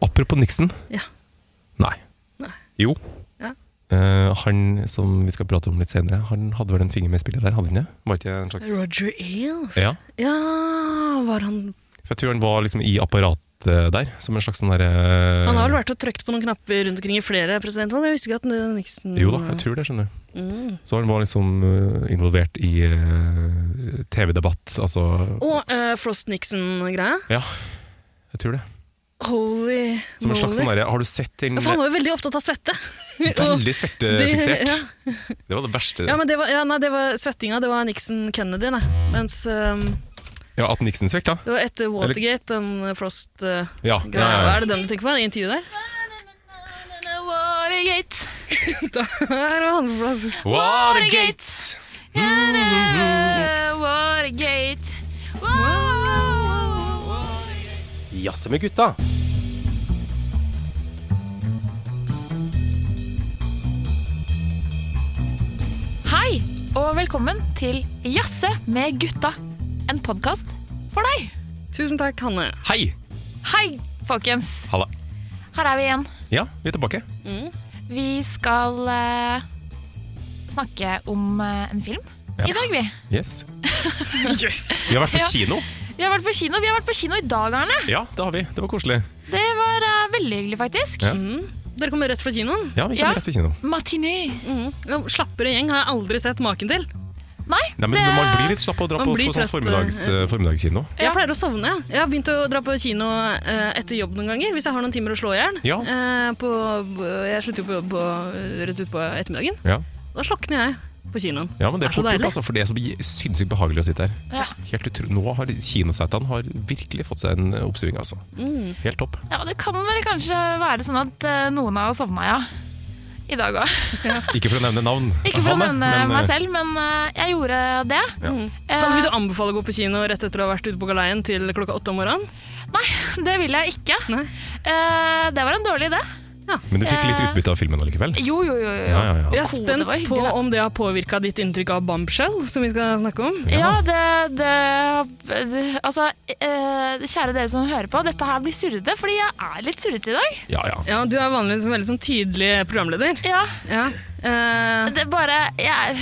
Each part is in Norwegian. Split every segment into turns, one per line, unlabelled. Apropos Nixon.
Ja.
Nei.
Nei.
Jo.
Ja.
Eh, han som vi skal prate om litt senere, han hadde vel en finger med i spillet der? hadde han det? Var ikke en slags...
Roger Ailes?
Ja.
Ja, var han
For Jeg tror han var liksom i apparatet der, som en slags sånn derre
Han har vel vært og trykt på noen knapper rundt omkring i flere presidentvalg? Jeg visste ikke at Nixon
Jo da, jeg tror det, skjønner du.
Mm.
Så han var liksom eh, involvert i eh, TV-debatt, altså
Og eh, Frost Nixon-greia.
Jeg tror det.
Holy
Som en slags sånn
moly.
derre Har du sett den
Ja, for han var jo veldig opptatt av svette. Og
Veldig
det-
svettefiksert.
ja.
Det var det verste.
Ja, men det var, ja, nei, det var svettinga. Det var Nixon-Kennedy, nei. Mens ehm,
Ja, at Nixon svekta?
det var etter Watergate, den Frost-greia.
Ja. ja, ja,
Hva
ja.
er det den du tenker på? Er det intervjuet der?
Watergate.
Der var han på plass.
Watergate!
Watergate. Watergate.
Jazze med gutta!
Hei, og velkommen til Jasse med gutta. En podkast for deg.
Tusen takk, Hanne.
Hei!
Hei, folkens.
Halla.
Her er vi igjen.
Ja, vi er tilbake.
Vi skal eh, snakke om eh, en film
Ja.
i dag, vi.
Yes.
Yes.
Vi har vært på
Ja.
kino.
Vi har vært på kino, vi har vært på kino i dag, Arne.
Ja, det har vi. Det var koselig.
Det var eh, veldig hyggelig, faktisk.
Ja.
Mm. Dere kommer rett fra kinoen.
Ja, vi
Ja.
kommer rett ved kino.
Matiné.
Mm. Ja, Slappere gjeng har jeg aldri sett maken til.
Nei,
Nei, men Man blir litt slapp av å dra
Man
på
blir
for sånn
trøtt,
formiddags,
eh, mm.
formiddagskino.
Ja.
Jeg pleier å sovne. jeg. Jeg har begynt å dra på kino eh, etter jobb noen ganger, hvis jeg har noen timer å slå i hjel.
Ja.
Eh, på- Jeg slutter jo på jobb på- rett ut på ettermiddagen.
Ja.
Da slokner jeg på kinoen.
ja, men det er
Det er så
fort gjort,
deilig.
altså, for det er så gi- sinnssykt behagelig å sitte her.
Ja.
Helt utro... Nå har kinosetene har virkelig fått seg en oppsving, altså.
Mm.
Helt topp.
Ja, det kan vel kanskje være sånn at eh, noen har sovna, ja. I dag òg.
Ikke for å nevne navn.
Ikke for å
Hanne,
nevne
men,
meg
eh,
selv, men eh, jeg gjorde det.
Mm.
Eh,
Da vil du anbefale å gå på kino rett etter å ha vært ute på galeien til klokka åtte om morgenen?
Nei, det ville jeg ikke.
Nei.
Eh, det var en dårlig idé.
Men du fikk litt
Eh,
utbytte av filmen allikevel?
Jo, jo, jo. jo.
Ja, ja, ja.
Jeg er
Kode
spent
var hyggelig,
på
da.
om det har påvirka ditt inntrykk av Bombshell, som vi skal snakke om.
Ja, det, det, det Altså, eh, kjære dere som hører på, dette her blir surrete, fordi jeg er litt surrete i dag.
Ja, ja.
Ja, Du er vanligvis en veldig sånn tydelig programleder.
Ja,
Ja. Eh,
det er bare jeg,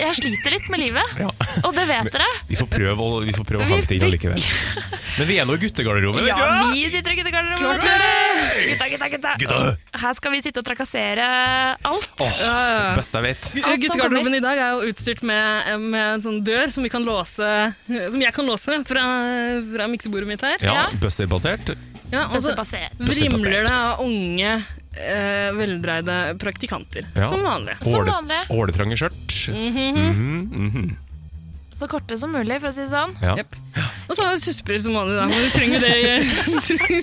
jeg sliter litt med livet,
Ja.
og det vet dere.
Vi får prøve å, vi får prøve å
Vi
hanke det inn
fikk-
allikevel. Men vi er nå i guttegarderoben, vet
Ja,
du!
vi sitter og gutter
Klart
Gutta, gutta, gutta.
Gutta!
Her skal vi sitte og trakassere alt.
Åh,
ja, ja.
beste jeg vet.
Alt som
Guttegarderoben
kommer.
i dag er jo utstyrt med, med en sånn dør som, vi kan låse, som jeg kan låse fra, fra miksebordet mitt her.
Ja,
Ja.
Buzzer-basert.
Ja, og så
Bøsse passer.
vrimler det av unge, eh, veldreide praktikanter.
Ja.
Som vanlig.
Som
Åle-
vanlig.
Åletrange skjørt. Mhm, mhm.
Så korte som mulig, for å si det sånn.
Ja.
Jepp. Og så har vi susper som vanlig, da. Men vi trenger det i-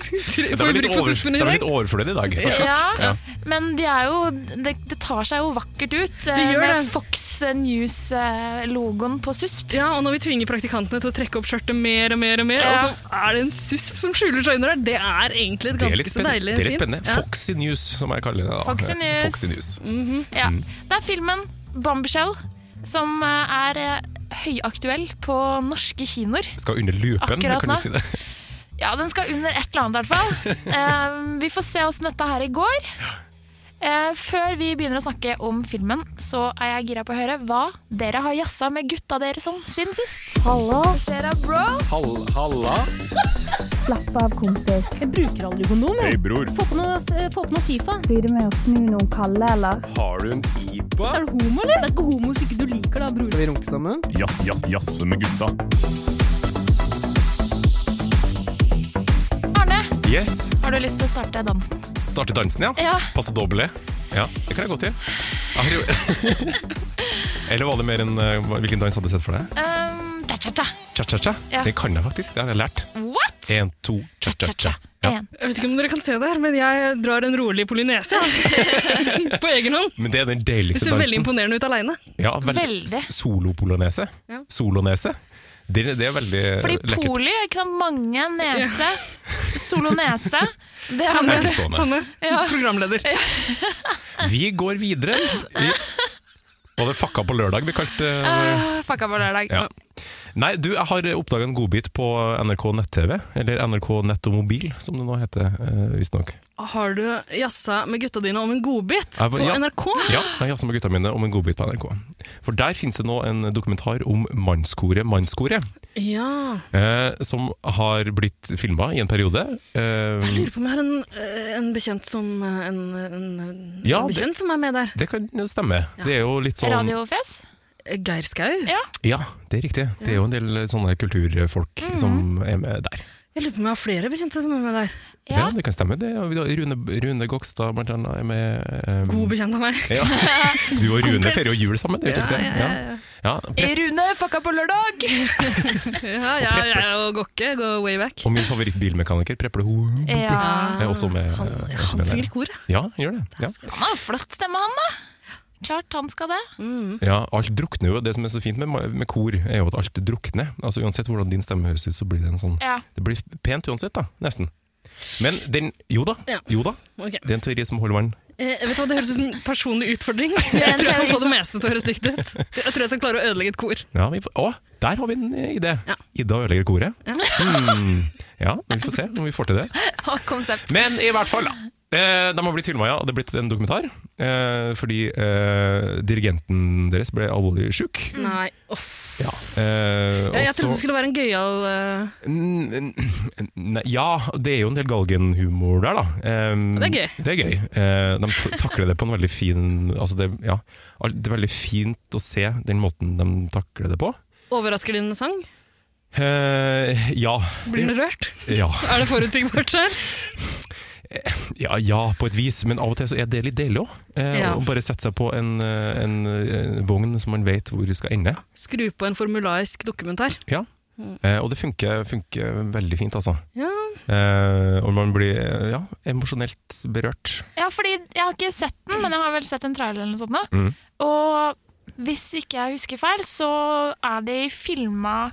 Det
Får
var
vi
litt,
bruk for
over,
suspene
det var
i dag?
litt overflødig i dag, faktisk.
Ja,
Ja.
Men de er jo, det, det tar seg jo vakkert ut eh,
Det gjør
med
det.
Fox News-logoen på SUSP.
Ja, og når vi tvinger praktikantene til å trekke opp skjørtet mer og mer, og mer,
Ja.
og så er det en susp som skjuler seg under der, det er egentlig et
Det er
ganske
litt
så
spennende.
deilig
Det er litt
syn.
spennende. Foxy News, som jeg kaller det. da.
Foxy News.
Foxy News.
Ja.
Mm.
Det er filmen 'Bombshell' som eh, er eh, høyaktuell på norske kinoer.
Skal under lupen,
Akkurat
kan du
nå.
si det.
Ja, den skal under et eller annet, i hvert fall. Eh, vi får se åssen dette her i går. Eh, før vi begynner å snakke om filmen, så er jeg gira på å høre hva dere har jazza med gutta deres om siden sist. Hallo. Hva skjer da, bro?
Slapp av, kompis.
Jeg bruker aldri kondom. jeg.
Hei, bror.
Få på noe, eh, få på noe Fifa.
Blir det med å snu noen kalde, eller?
Har du en pipa?
Er du homo, eller? Det er ikke homo hvis ikke du liker det, bror.
Skal vi runke sammen?
Ja, ja, jasse med gutta.
Arne,
Yes.
har du lyst til å starte dansen?
Starte dansen, ja.
Ja.
Passe doble. Ja, det kan jeg gå til. Jeg har jo... Eller var det mer enn eh, Hvilken dans hadde du sett for deg?
Um, cha-cha-cha.
Cha-cha-cha?
Ja.
Den kan jeg faktisk, det har jeg lært.
What?
Én, to, cha-cha-cha.
Cha-cha-cha.
Ja.
En.
Jeg vet ikke om dere kan se det her, men jeg drar en rolig polynese jeg. på egen hånd.
Men det er den
Det
deiligste
ser veldig
dansen.
imponerende ut aleine.
Ja,
Veldig.
s- Solopolonese.
Ja.
Solonese. Det, det er veldig
Fordi
Eh, lekkert.
poli, ikke sant? Mange nese. Solonese. Det er
Jeg
med.
er ikke stående.
Hanne, programleder.
Vi går videre. Vi... Var det Fakka på lørdag vi kalte
Uh, fucka på lørdag.
Ja. Nei, du, jeg har oppdaga en godbit på NRK nett-TV. Eller NRK Nett og Mobil, som det nå heter, eh, visstnok.
Har du jazza med gutta dine om en godbit
Jeg var-
på
ja.
NRK?
Ja, jeg jazza med gutta mine om en godbit på NRK. For der fins det nå en dokumentar om mannskoret Mannskoret,
Ja.
eh, som har blitt filma i en periode.
Jeg
Eh,
lurer på om jeg har en, eh, en bekjent som eh, En, en, en
Ja, det-
bekjent som er med der.
det kan jo stemme. Det er jo litt sånn
Radiofjes?
Geir Skau?
Ja.
Ja, det er riktig. Det er jo en del eh, sånne kulturfolk som er med der.
Jeg lurer på om jeg har flere bekjente som er med der.
Ja,
Ja.
det kan stemme. Det er, jo- Rune, Rune Gokstad blant annet er med. eh,
God bekjent av meg.
Ja. Du og Rune
Kompis.
feirer jo jul sammen, det er jo kjempe. Ja, ja. Pre-
Rune, fucka på lørdag!
Ja, ja, jeg og Gokke går way back.
Og min favorittbilmekaniker, Preple Hoen,
Ja.
er også med. eh,
Han,
er også
han
med
synger
der.
i kor. ja.
Ja, gjør det. Ja.
Han har jo flott stemme, han da. Klart han skal det.
Mm.
ja, alt drukner jo. Det som er så fint med, med kor, er jo at alt drukner. Altså Uansett hvordan din stemme høres ut, så blir det en sånn
Ja.
Det blir pent uansett, da. Nesten. Men den Jo da.
Ja.
Jo da.
Ok.
Det er en teori som holder vann.
Eh, vet du hva, Det høres ut som en personlig utfordring.
er
Jeg
en
tror jeg kan
teori
få det
som-
meste til å høres stygt ut. Jeg tror jeg skal klare å ødelegge et kor.
Ja, vi får, å, der har vi en eh, idé!
Ja.
Ida ødelegger koret.
Ja.
Hmm. ja, vi får se om vi får til det.
Og konsept.
Men i hvert fall, da. Eh, De har blitt filma, ja. og Det har blitt en dokumentar. Eh, fordi eh, dirigenten deres ble alvorlig sjuk.
Mm.
Nei, uff.
Ja. Eh,
Jeg, jeg
og så-
trodde det skulle være en gøyal eh,
N- n- Nei, ja, det er jo en del galgenhumor der, da. Eh,
Ja, det er gøy.
Det er gøy. Eh, de t- takler det på en veldig fin altså det, ja, al- det er veldig fint å se den måten de takler det på.
Overrasker din sang?
Eh, ja.
Blir den rørt?
ja.
Er det forutsigbart her?
Ja, ja, på et vis, men av og til så er det litt deilig òg. Eh,
Ja.
Å bare sette seg på en, eh, en, eh, vogn som man vet hvor skal ende.
Skru på en formulaisk dokumentar.
Ja. Eh, og det funker, funker veldig fint, altså.
Ja.
Eh, og man blir eh, ja, emosjonelt berørt.
Ja, fordi jeg har ikke sett den, men jeg har vel sett en trailer eller noe sånt nå.
Mm.
Og hvis ikke jeg husker feil, så er de filma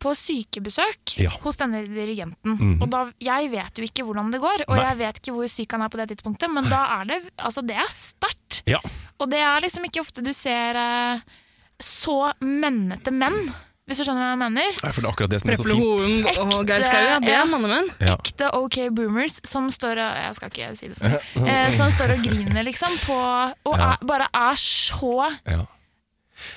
på sykebesøk
Ja.
hos denne dirigenten.
Mhm.
Og da, jeg vet jo ikke hvordan det går, og
Nei.
jeg vet ikke hvor syk han er på det tidspunktet, men da er det Altså, det er sterkt.
Ja.
Og det er liksom ikke ofte du ser eh, så mennete menn, hvis du skjønner hva jeg mener.
For det er akkurat det som er så
Preple
fint.
Hoen og Geir Skau, ja. Det
Ja.
er mannemenn.
Ja.
Ekte OK boomers som står og Jeg skal ikke si det for deg. Eh, som står og griner, liksom, på Og
Ja.
er, bare er så
Ja.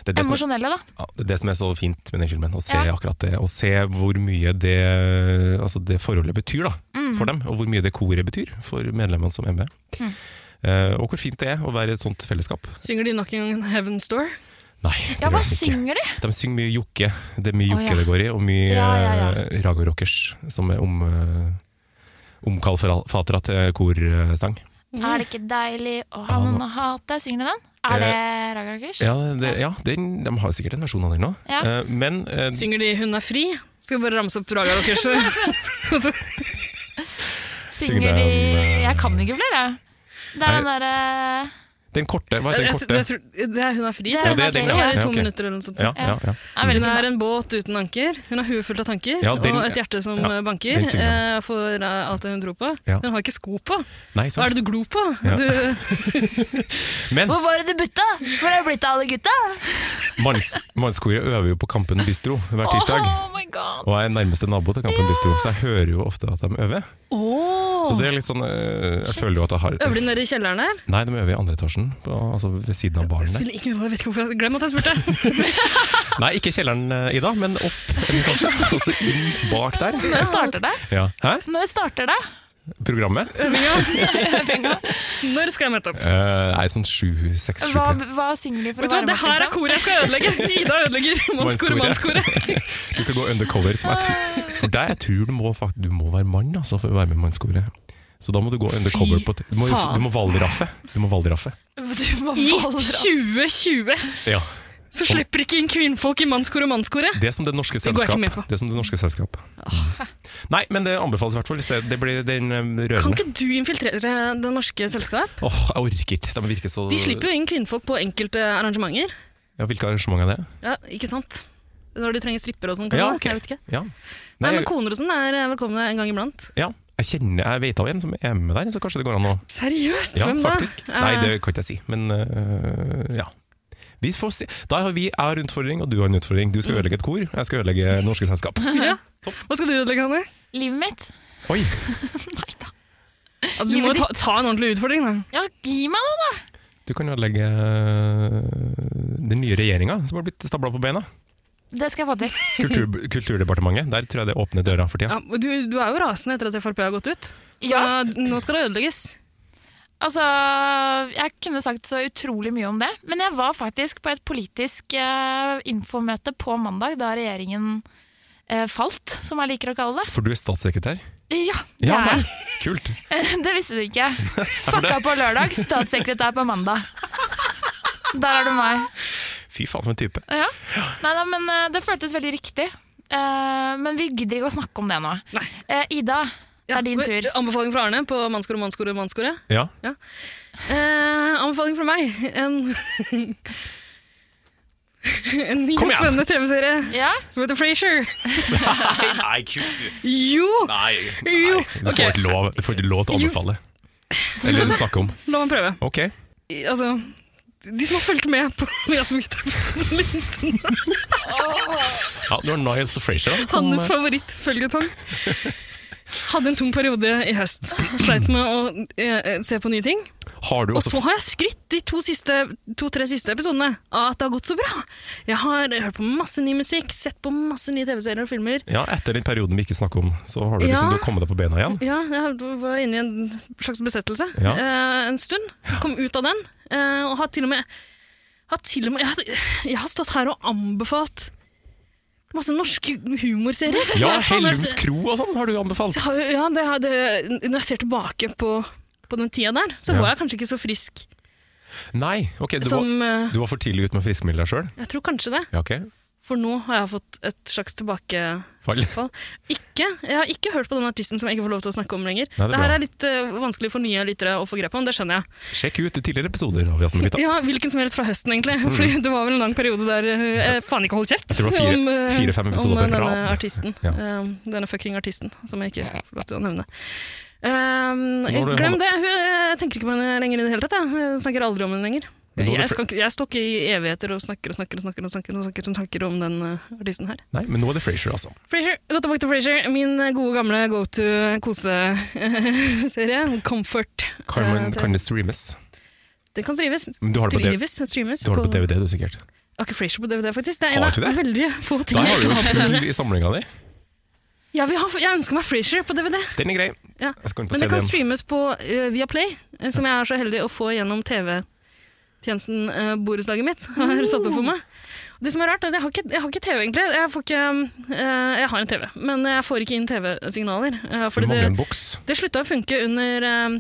Det er det, som er,
emosjonelle, da.
ja, det er det som er så fint med den filmen, å se
Ja.
akkurat det. Å se hvor mye det, altså det forholdet betyr da,
Mm.
for dem, og hvor mye det koret betyr for medlemmene som er med. Eh, og hvor fint det er å være i et sånt fellesskap.
Synger de nok en Heaven's Door?
Nei, det
Ja,
gjør
hva
de ikke.
synger de?
De synger mye jokke. Det er mye
Å,
jokke
ja.
det går i, og mye
Ja, ja, ja.
eh, Raga Rockers, som er om, eh, omkalfatera til korsang.
Er det ikke deilig å ha
Ja, nå- Eh,
noen å hate? Synger de den? Er det Raga Rakers?
Ja, det, ja den, de har sikkert en versjon av den nå.
Ja.
Eh, men eh,
Synger de 'Hun er fri'? Skal vi bare ramse opp Raga Rockers?
synger
Synger
de
de
om, eh,
Jeg kan ikke flere. Det
Nei.
er den eh, derre
den korte, hva er
Jeg-
den
jeg-
korte?
jeg tror- Det er 'Hun er fri'.
Det er
tror jeg.
Hun er fri,
Det var i
ja,
to
ok.
minutter eller noe sånt.
Ja, ja, ja.
er veldig
Hun er
fin.
en båt uten anker. Hun har huet fullt av tanker
Ja, den-
og et hjerte som
ja,
banker
den synger
eh, for eh, alt det hun tror på.
Ja.
Hun har ikke sko på.
Nei,
Hva
sant.
er det du glor på?
Ja.
Du,
da.
Men
Hvor var det du butta? Hvor er det blitt av alle gutta?
manns, mannskoret øver jo på Kampen Bistro hver tirsdag.
Oh my god.
Og jeg er nærmeste nabo til Kampen Bistro, så jeg hører jo ofte at de øver. Så det er litt sånn eh, Jeg føler jo at jeg har
øver de nede i kjelleren der?
Nei, de øver i andre etasjen, på, altså ved siden av baren der.
Spiller ikke noe, jeg vet ikke hvorfor jeg Glem at jeg spurte!
Nei, ikke kjelleren, eh, Ida, men opp en etasje, og så inn bak der.
Når starter det?
Ja. Hæ?
Når starter det?
Programmet?
Øvinga. Når skal jeg møte opp?
Eh, nei, sånn sju, seks, sju,
Hva,
tre.
hva synger de for
Vet du hva,
å være
Det her er koret jeg skal ødelegge! Ida ødelegger mannskoret,
Mannskoret.
mannskoret.
Du skal gå undercover. Som jeg, tr- for der, jeg tror du må, fakt- du må være mann altså, for å være med i mannskoret. Så da må du gå undercover. På t- du må,
faen.
du må valraffe. Du må valraffe.
Du må
I
valre.
2020
Ja.
så slipper ikke inn kvinnfolk i mannskoret og mannskoret!
Det er som det norske
Det går
selskap.
jeg ikke med på.
Det er som det norske selskap. Mm. Nei, men det anbefales i hvert fall. Se, Det blir den eh,
Kan
rørende.
ikke du infiltrere det norske selskap?
Åh, jeg orker ikke. De virker så
De slipper jo inn kvinnfolk på enkelte arrangementer.
Ja, Hvilke arrangement er det?
Ja, ikke sant? Når de trenger strippere og sånn, kanskje?
Ja, ok.
Jeg vet ikke.
Ja.
Nei,
Nei,
men koner og sånn er velkomne en gang iblant.
ja. Jeg kjenner, jeg vet av en som er med der, så kanskje det går an å
Seriøst?
Ja,
Hvem da?
faktisk. Nei, det kan ikke jeg si, men øh, ja. Vi får se. Da har vi jeg har en utfordring, og du har en utfordring. Du skal ødelegge et kor, jeg skal ødelegge norske selskap.
Ja. Hva skal du ødelegge, Hanne?
Livet mitt?
Oi,
Nei da.
Altså, du må jo ta, ta en ordentlig utfordring. Da.
Ja, gi meg noe, da!
du kan ødelegge øh, den nye regjeringa som har blitt stabla på beina.
Det skal jeg få til.
Kultur, Kulturdepartementet. Der tror jeg det åpner døra for tida.
Ja, men du, du er jo rasende etter at Frp har gått ut. Så
Ja.
nå skal det ødelegges.
Altså, jeg kunne sagt så utrolig mye om det, men jeg var faktisk på et politisk eh, infomøte på mandag da regjeringen eh, falt, som jeg liker å kalle det.
For du er statssekretær?
Ja, det
Ja
er
vel!
jeg.
Kult.
Det visste du ikke. Fucka på lørdag, statssekretær på mandag. Der er du meg.
Fy faen, for en type.
Ja. Nei, nei, men eh, det føltes veldig riktig. Eh, men vi gidder ikke å snakke om det nå.
Nei.
Eh, Ida, det er din
Ja,
tur.
Anbefaling fra Arne på mannskoret, mannskoret, mannskoret.
Ja.
Eh, anbefaling fra meg. En, en ny
Kom
og
igjen.
spennende TV-serie
Ja?
som heter Frasier.
Nei, kutt du.
Jo!
Nei.
Jo.
Du får ikke lov, du får ikke lov til å
Jo.
anbefale. Eller snakke om.
La meg prøve.
Ok.
I- Altså, de som har fulgt med på jeg som gitt episoden listen,
Ja, du har Niles og Frazier. da, som- øh,
Hannes favorittfølgetong, hadde en tung periode i høst. Sleit med å eh, se på nye ting.
Har du
Og så
også
har jeg skrytt de to-tre siste, to, tre siste episodene av at det har gått så bra. Jeg har hørt på masse ny musikk, sett på masse nye TV-serier og filmer.
Ja, etter den perioden vi ikke snakker om, så har du liksom
Ja.
du har kommet deg på bena igjen.
Ja, jeg var inne i en slags besettelse
Ja.
eh, en stund. Kom ut av den, eh, og har til og med, har til og med jeg, har, jeg har stått her og anbefalt masse norske humorserier.
Ja,
Jeg har-
Hellums kro og sånn har du anbefalt.
Jeg har- Ja, det, har- det, når jeg ser tilbake på, på den tida der, så
Ja.
var jeg kanskje ikke så frisk
Nei, ok, du var,
som eh,
du var for tidlig ute med å friskmelde deg sjøl.
Jeg tror kanskje det,
Ja, ok.
for nå har jeg fått et slags tilbakefall.
Fall.
Ikke, jeg har ikke hørt på den artisten som jeg ikke får lov til å snakke om lenger.
Nei, det er
det her
bra.
er litt eh, vanskelig for nye lyttere å få grep om, det skjønner jeg.
Sjekk ut tidligere episoder av Jazz med gutta.
Ja, hvilken som helst fra høsten, egentlig. Fordi det var vel en lang periode der eh, jeg faen ikke holdt
Mm. Jeg
kjeft
tror det var fire-
eh,
fire-fem episoder
om
på
eh, denne
rad.
artisten.
Ja.
Eh, denne fucking artisten, som jeg ikke får lov til å nevne. Um,
Så nå har du-
glem det, Hun- jeg tenker ikke på henne lenger i det hele tatt. Jeg, jeg snakker aldri om henne lenger.
Men nå er
Jeg,
det fl-
skal, ikke- jeg står ikke i evigheter og snakker og snakker og snakker og snakker, og snakker, og snakker om den eh, artisten her.
Nei, men nå er det Frazier, altså.
Frasier, gå tilbake til Frasier, min eh, gode gamle go to kose-serie. Comfort.
Kan, man,
Eh,
kan det streames?
Det kan strives.
Men du har det på D-
Strives, streames
Du har det på DVD, du sikkert.
Jeg har ikke Frasier på DVD, faktisk. Det er en
Har
av
du ikke det?
veldig få ting
Da
jeg
har du
ikke
jo
har på DVD.
full i samlinga di.
Ja, vi har, jeg ønsker meg Frasier på DVD,
Den er grei.
Ja.
Jeg skal inn på
men det kan
CD-en.
streames på eh, via Play, eh, som jeg er så heldig å få gjennom TV-tjenesten uh, borettslaget mitt har satt opp for meg. Og Det som er rart, er at jeg har ikke, jeg har ikke TV, egentlig. Jeg, får ikke, eh, jeg har en TV, men jeg får ikke inn TV-signaler. eh,
Du
fordi det,
mangler en boks.
det slutta å funke under eh,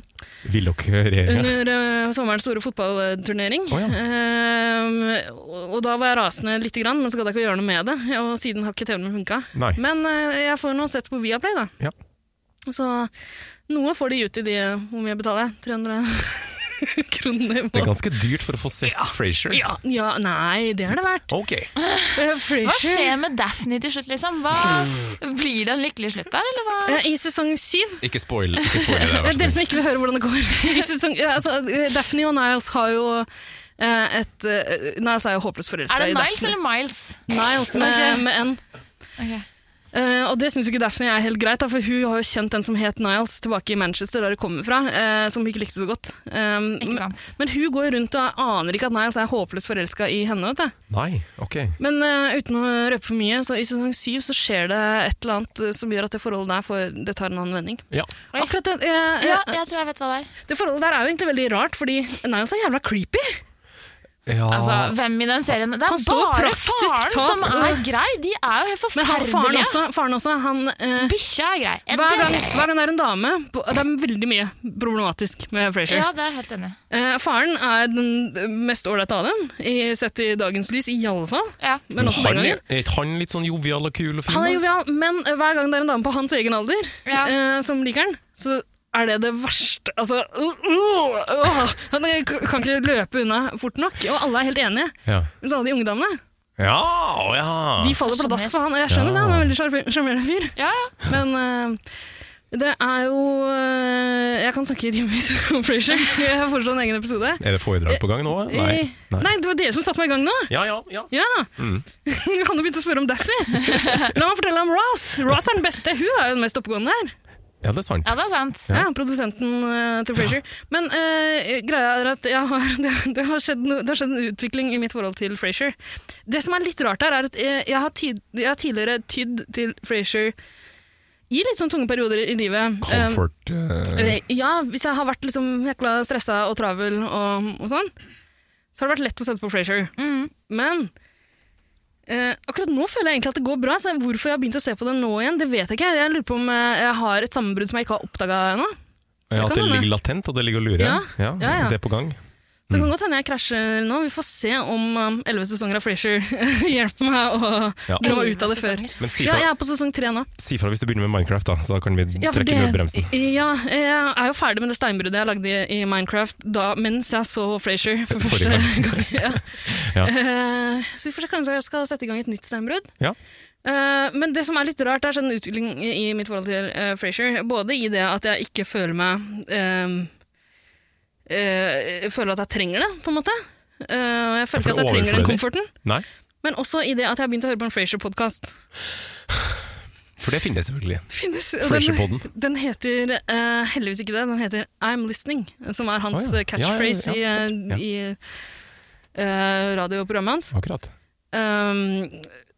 Vil dere regjeringa?
under eh, sommerens store fotballturnering.
Å, ja.
Eh, og, og da var jeg rasende lite grann, men så gadd jeg ikke å gjøre noe med det. Og siden har ikke TV-en min funka.
Nei.
Men eh, jeg får nå sett på Viaplay, da.
Ja.
Så noe får de ut i de Hvor mye betaler jeg? 300 kroner i
Det er
måneden?
ganske dyrt for å få sett Frasier.
Ja, ja, nei, det er det verdt.
Ok.
Eh,
Hva
Frasier-
skjer med Daphne til slutt, liksom? Hva, blir det en lykkelig slutt der, eller hva?
Mm. Eh, I sesong syv
Ikke spoil, ikke spoil det.
Eh,
Vær så
Dere
snill.
som ikke vil høre hvordan det går. I sesong, ja, altså, eh, Daphne og Niles har jo eh, et eh, Niles er jo håpløst forelska
Er det
i
Niles
Daphne.
eller Miles?
Niles med,
Ok.
med N.
Ok.
Eh, og det syns jo ikke Daphne er helt greit, da, for hun har jo kjent en som het Niles tilbake i Manchester, der hun kommer fra, eh, som hun ikke likte så godt. Um,
Ikke sant?
men hun går jo rundt og aner ikke at Niles er håpløst forelska i henne. Vet du.
Nei, ok.
Men eh, uten å røpe for mye, så i sesong syv så skjer det et eller annet eh, som gjør at det forholdet der får, det tar en annen vending.
Ja.
Oi.
Akkurat det, eh,
Ja,
eh,
jeg tror jeg vet hva det er.
det forholdet der er jo egentlig veldig rart, fordi Niles er jævla creepy.
ja.
Altså, hvem i den serien? Det er
Han står
bare
praktisk
faren
talt
som er
og-
grei! De er jo helt
Men han, faren
forferdelige!
også, faren også han eh,
Bikkja er grei. Jeg
hver, gang,
dør.
hver gang det er en dame på- Det er veldig mye problematisk med Frasier.
Ja, det er jeg helt enig i.
Eh, faren er den mest ålreite av dem, i, sett i dagens lys, iallfall.
Ja.
Men også den
han,
gangen.
er ikke han litt sånn jovial og kul og fin?
Han er
da?
jovial, men eh, hver gang det er en dame på hans egen alder
Ja.
eh, som liker han, så er det det verste Altså uh, uh, åh. Han eh, k- kan ikke løpe unna fort nok, og alle er helt enige.
Ja.
Mens alle de ungdommene
Ja, å ja.
de faller
Jeg skjønner.
pladask for han. Og jeg
Ja.
skjønner det, han er en veldig sjarmer- sjarmerende fyr.
Ja, ja.
Men eh, Det er jo øh, Jeg kan snakke i timevis om Frasier. Jeg foreslår en egen episode.
Er det foredrag på gang nå? Nei.
Eh, Nei. det var dere som satte meg i gang nå!
Ja, ja, ja.
Ja!
Mm.
Du kan jo begynne å spørre om Daffy. La meg fortelle om Ross. Ross er den beste. Hun er jo den mest oppegående her.
ja, det er sant.
Ja, det er sant.
Ja.
Ja, produsenten eh, til Frasier. Men eh, greia er at jeg har, det, det, har skjedd no, det har skjedd en utvikling i mitt forhold til Frasier. Det som er litt rart her, er at eh, jeg, jeg, har, tyd, jeg har tidligere tydd til Frasier i litt sånn tunge perioder i livet. Eh,
Comfort eh,
Eh, Ja, hvis jeg har vært liksom jækla stressa og travel og, og sånn, så har det vært lett å sette på Frasier.
Mm.
Men eh, akkurat nå føler jeg egentlig at det går bra, så hvorfor jeg har begynt å se på det nå igjen, det vet jeg ikke. Jeg lurer på om eh, jeg har et sammenbrudd som jeg ikke har oppdaga ennå.
ja, At
kan
det
hende.
ligger latent, og det ligger og lurer.
Ja, ja, ja.
Det er på gang.
Så det kan godt hende jeg krasjer nå. Vi får se om um, elleve sesonger av Frasier hjelper meg å
Ja.
dra meg ut av det før.
Sesonger.
Men si
Ja,
fra,
jeg er på sesong tre nå.
si fra hvis du begynner med Minecraft, da. Så da kan vi
Ja, for
trekke
det-
ned bremsen.
Ja, jeg er jo ferdig med det steinbruddet jeg lagde i i Minecraft da, mens jeg så Frasier for første
Forrige
gang.
Ja.
Eh, så vi får se kanskje jeg skal sette i gang et nytt steinbrudd.
Ja.
Eh, men det som er litt rart, er sånn utvikling i i mitt forhold til uh, Frasier. Både i det at jeg ikke føler meg ehm, eh, Føler at jeg trenger det, på en måte. Eh, og jeg føler
for
ikke at jeg
det
trenger den
overflødig.
komforten.
Nei,
Men også i det at jeg har begynt å høre på en Frasier-podkast.
for det finnes selvfølgelig.
Den,
Frasier-podden.
den heter eh, heldigvis ikke det, den heter I'm Listening, som er hans
Å ja.
eh, catchphrase
Ja, ja, ja, sant.
i, eh, i eh, radioprogrammet hans.
Akkurat.
Um,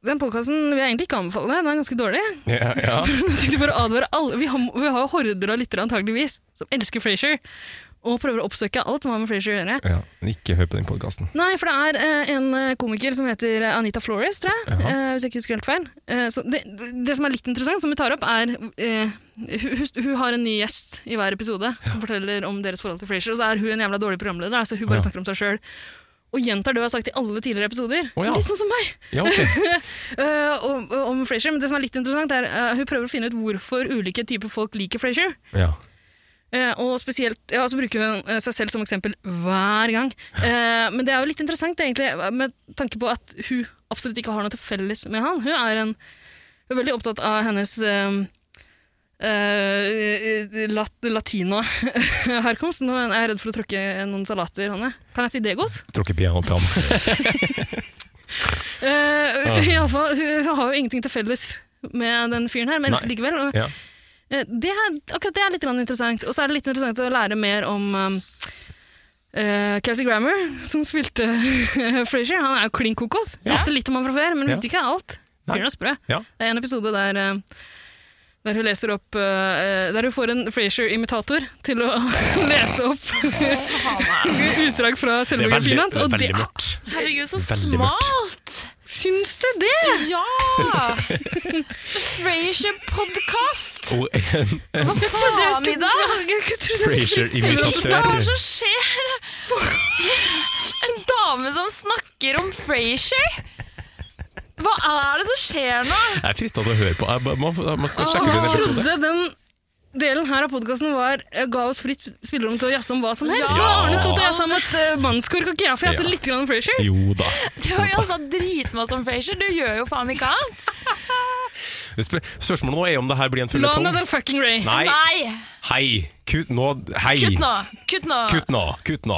den podkasten vil jeg egentlig ikke anbefale, den er ganske dårlig.
Ja, ja.
Jeg tenkte bare å advare alle. Vi har, vi har jo horder av lyttere antageligvis som elsker Frasier, og prøver å oppsøke alt som har med Frasier å gjøre.
ja. men Ikke hør på den podkasten.
Nei, for det er eh, en eh, komiker som heter eh, Anita Flores, tror jeg.
Ja.
eh, hvis jeg ikke husker helt feil. Eh, så det, det, det som er litt interessant, som hun tar opp, er eh, hun, hun- hun har en ny gjest i hver episode som forteller om deres forhold til Frasier. Og så er hun en jævla dårlig programleder, da, så hun bare
Ja.
snakker om seg sjøl. Og gjentar det hun har sagt i alle tidligere episoder.
Å, ja.
Litt sånn som meg!
Ja, ok.
eh, om, om Frasier. Men det som er litt interessant, er eh, hun prøver å finne ut hvorfor ulike typer folk liker Frasier.
Ja.
Eh, og spesielt, ja, så bruker hun eh, seg selv som eksempel hver gang. Eh, men det er jo litt interessant, egentlig, med tanke på at hun absolutt ikke har noe til felles med han. Hun er, en, hun er veldig opptatt av hennes eh, eh, lat, latina-herkomst. Nå er jeg redd for å tråkke noen salater, Hanne. Kan jeg si degos?
Tråkker piano på han. Ah.
Uh, Iallfall, hun, hun har jo ingenting til felles med den fyren her, men elsker
Nei.
likevel. Og,
Ja.
Eh, Det er, akkurat det er litt grann interessant. Og så er det litt interessant å lære mer om um, eh, Kelsey Grammer, som spilte Frasier. Han er jo klin kokos.
Ja.
Visste litt om han fra før, men
Ja.
visste ikke alt.
Nei.
Fyren er sprø.
Ja.
Det er en episode der eh, der hun leser opp eh, Der hun får en Frasier-imitator til å lese opp utdrag fra
Det
selve
er veldig,
biografien hans. Og
veldig
det
mørkt.
Herregud, så
Veldig mørkt.
smalt!
Syns du det?!
Ja! Frasier-podkast!
Og en, en
Hva faen, Ida? Hva er det
Frasier-imitatør.
som skjer? En dame som snakker om Frasier? Hva er det som skjer nå?
Jeg er frista til å høre på. Jeg ba- må, man skal sjekke ut en
Jeg
episode.
trodde den delen her av podkasten ga oss fritt spillerom til å jazze om hva som helst.
Ja.
Nå har Arne stått og jazza om et uh, mannskork, og ikke jeg får jazze
Ja.
litt grann om Frasier.
Jo da.
Du har jo altså dritmasse om Frasier, du gjør jo faen ikke annet.
Sp spørsmålet nå er om det her blir en
Lana
føljetong.
del fucking Ray.
Nei,
Nei!
hei! Kutt nå. Hei!
Kutt nå! Kutt nå!
Kutt nå! Kutt nå!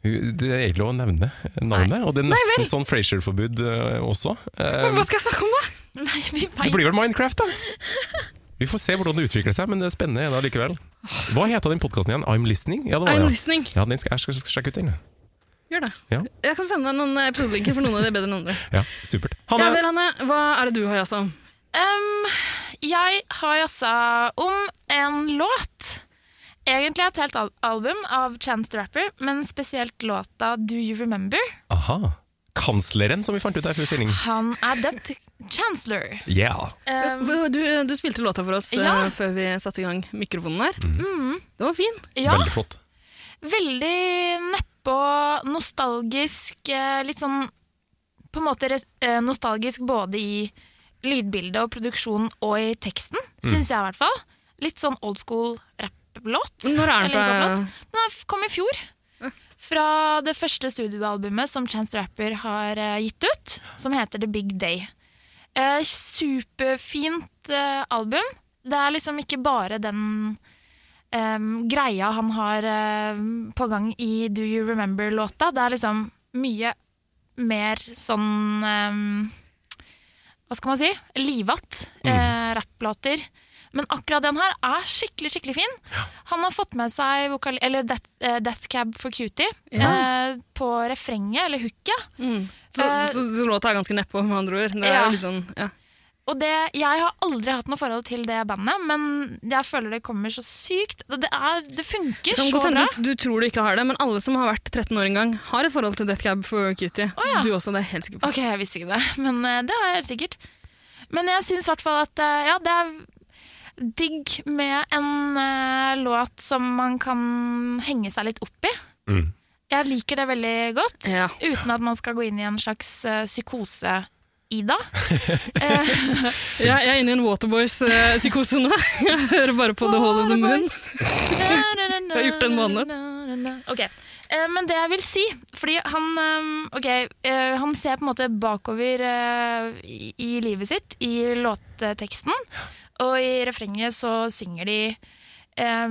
Det er ikke lov å nevne navnet, og det er nesten sånn Frasier-forbud eh, også. Eh,
Hva skal jeg snakke om, da?
Nei, vi
Det
veit
blir vel Minecraft, da. Vi får se hvordan det utvikler seg, men det er spennende er det allikevel. Hva heter den podkasten igjen? I'm Listening? Ja, det var
I'm
det.
listening.
Ja, den skal, jeg skal, skal sjekke ut den.
Gjør det.
Ja.
Jeg kan sende deg noen episodelinker, for noen av de er bedre enn andre.
Ja, supert.
Ja
Hanne!
vel, Hanne, hva er det du har jazza om?
Ehm, jeg har jazza om en låt. Egentlig et helt al album av Chance the Rapper, men spesielt låta Do You Remember.
Aha. Kansleren, som vi fant ut her før sending.
Han er døpt Chancellor.
Yeah.
Ehm,
Du, du spilte låta for oss eh,
Ja.
før vi satte i gang mikrofonen her.
Mm.
Det var fin.
ja,
Veldig flott.
veldig neppe og nostalgisk. eh, Litt sånn på en måte res- eh, nostalgisk både i lydbildet og produksjonen og i teksten, syns jeg i hvert fall. Litt sånn old school rapplåt.
Når er den
Eller hiphop-låt.
fra?
Den er- kom i fjor. Fra det første studioalbumet som Chance the Rapper har eh, gitt ut, som heter The Big Day. Eh, superfint eh, album. Det er liksom ikke bare den em, greia han har em, på gang i Do You Remember-låta. Det er liksom mye mer sånn em, Hva skal man si? Livatt eh, rapplåter. Men akkurat den her er skikkelig skikkelig fin. Han har fått med seg vokal, eller Death, eh, Death Cab for Cutie eh, på refrenget, eller hooket.
Mm. Så,
Eh,
så, så låta er ganske nedpå, med andre ord. Det er
Ja.
jo litt sånn, ja.
Og det, jeg har aldri hatt noe forhold til det bandet, men jeg føler det kommer så sykt. Det, er, det
Det
funker
kan
så
godt hende
bra.
du, du tror du ikke har det, men alle som har vært 13 år en gang, har et forhold til Death Cab for Cutie.
ja.
Du også, det er jeg helt sikker på.
Ok, jeg visste ikke det, men eh, det har jeg helt sikkert. Men jeg syns i hvert fall at eh, ja, det er digg med en eh, låt som man kan henge seg litt opp i.
Mm.
Jeg liker det veldig godt,
Ja.
uten at man skal gå inn i en slags eh, psykose. Ida.
Ja, jeg er inne i en Waterboys-psykose nå. Jeg hører bare på The Hall of the Moon.
Jeg
har gjort det en
Ok, eh, men det jeg vil si Fordi han, eh, ok, eh, han ser på en måte bakover eh, i, i livet sitt I låtteksten Og i refrenget så synger de eh,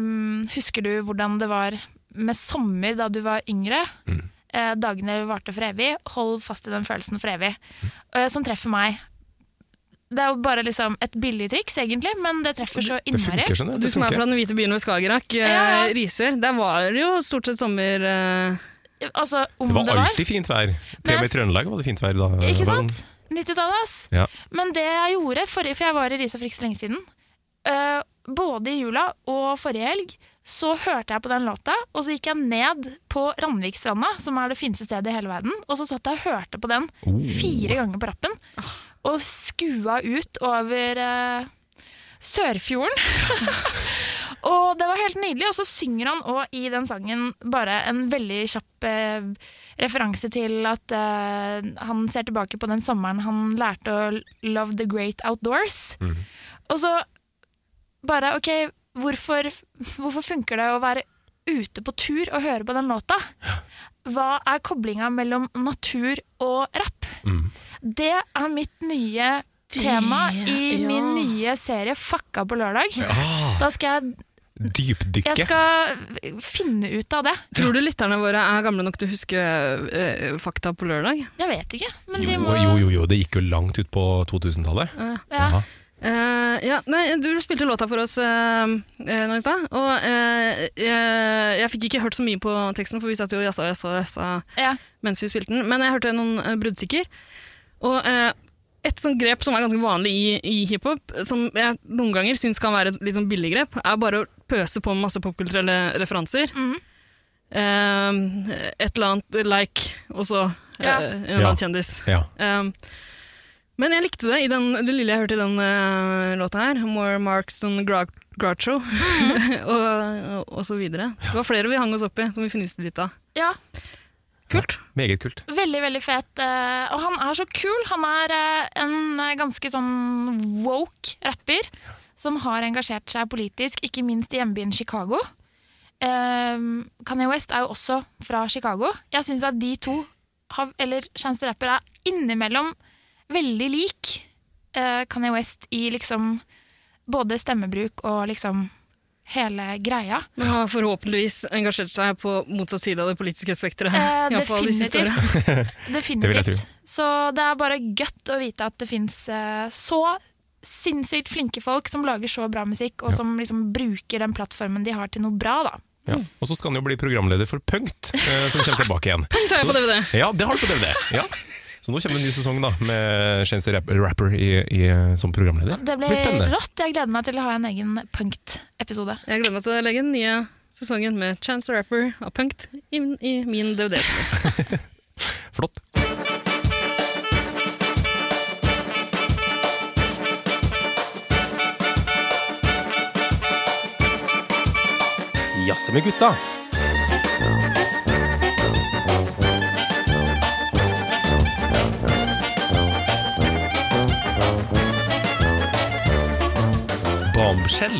Husker du hvordan det var med sommer da du var yngre?
Mm.
Eh, Dagene varte for evig Hold fast i den følelsen for evig eh, Som treffer meg det er jo bare liksom et billig triks egentlig, men det treffer så
Det
innmari.
funker, skjønner jeg.
Du
Det
som er
funker.
fra den hvite byen ved Skagerrak,
Ja, ja.
eh, Risør. Der var det jo stort sett sommer eh,
Altså, om
Det var
det var.
alltid fint vær. Til og med i
jeg-
Trøndelag var det fint vær da.
Ikke
Valen.
sant? 90-tallet, ass.
eh, Ja.
Men det jeg gjorde, forrige, for jeg var i Risa for ikke så lenge siden, eh, både i jula og forrige helg, så hørte jeg på den låta, og så gikk jeg ned på Randvikstranda, som er det fineste stedet i hele verden, og så satt jeg og hørte på den fire ganger på rappen, og skua ut over eh, Sørfjorden. og det var helt nydelig, og så synger han også i den sangen bare en veldig kjapp eh, referanse til at eh, han ser tilbake på den sommeren han lærte å love the great outdoors.
Mm.
Og så bare OK, hvorfor, hvorfor funker det å være ute på tur og høre på den låta? Hva er koblinga mellom natur og rapp?
Mm.
Det er mitt nye tema i
ja.
min nye serie Fucka på lørdag. Da skal jeg,
Ah, Dypdykke.
jeg skal finne ut av det.
Tror du lytterne våre er gamle nok til å huske eh, fakta på lørdag?
Jeg vet ikke, men de
Jo,
må
jo, jo, jo, det gikk jo langt ut på 2000-tallet.
Ja.
Jaha.
Eh, ja, nei, du spilte låta for oss eh, eh, nå i stad, og eh, jeg, jeg fikk ikke hørt så mye på teksten, for vi satt jo og jazza og jazza og jazza
Ja.
mens vi spilte den, men jeg hørte noen eh, bruddstykker. Og eh, et sånt grep som er ganske vanlig i, i hiphop, som jeg noen ganger syns kan være et litt sånn billig grep, er bare å pøse på med masse popkulturelle referanser.
Mhm.
Eh, et eller annet like, og så eh,
Ja.
en eller annen kjendis.
Ja.
Um, men jeg likte det i den, det lille jeg hørte i den eh, låta her. More Marks than Gra Groucho.
Mhm.
og, og, og så videre. Det var flere vi hang oss opp i, som vi finiste litt av.
ja.
Kult.
Meget kult.
Veldig, veldig fet. eh, Og han er så kul. Han er eh, en eh, ganske sånn woke rapper som har engasjert seg politisk, ikke minst i hjembyen Chicago. Eh, Kanye West er jo også fra Chicago. Jeg syns at de to, har, eller Chance the Rapper, er innimellom veldig lik eh, Kanye West i liksom både stemmebruk og liksom hele greia.
Men har forhåpentligvis engasjert seg på motsatt side av det politiske spekteret.
Eh,
i hvert fall de siste årene.
definitivt.
Det vil jeg tro.
definitivt. Så det er bare godt å vite at det fins så sinnssykt flinke folk som lager så bra musikk, og som liksom bruker den plattformen de har til noe bra, da.
Ja. Og så skal han jo bli programleder for Punkt, eh, som kommer tilbake igjen.
Punkt har jeg på DVD.
Ja, det har du på DVD. Ja. Så nå kommer en ny sesong da med Chance the Rap- Rapper i, i, som programleder.
Det blir
spennende.
rått. Jeg gleder meg til å ha en egen punkt-episode.
Jeg gleder meg til å legge den nye sesongen med Chance the Rapper av Punkt inn i min DVD.
Flott.
Jazze med gutta.
Bombshell.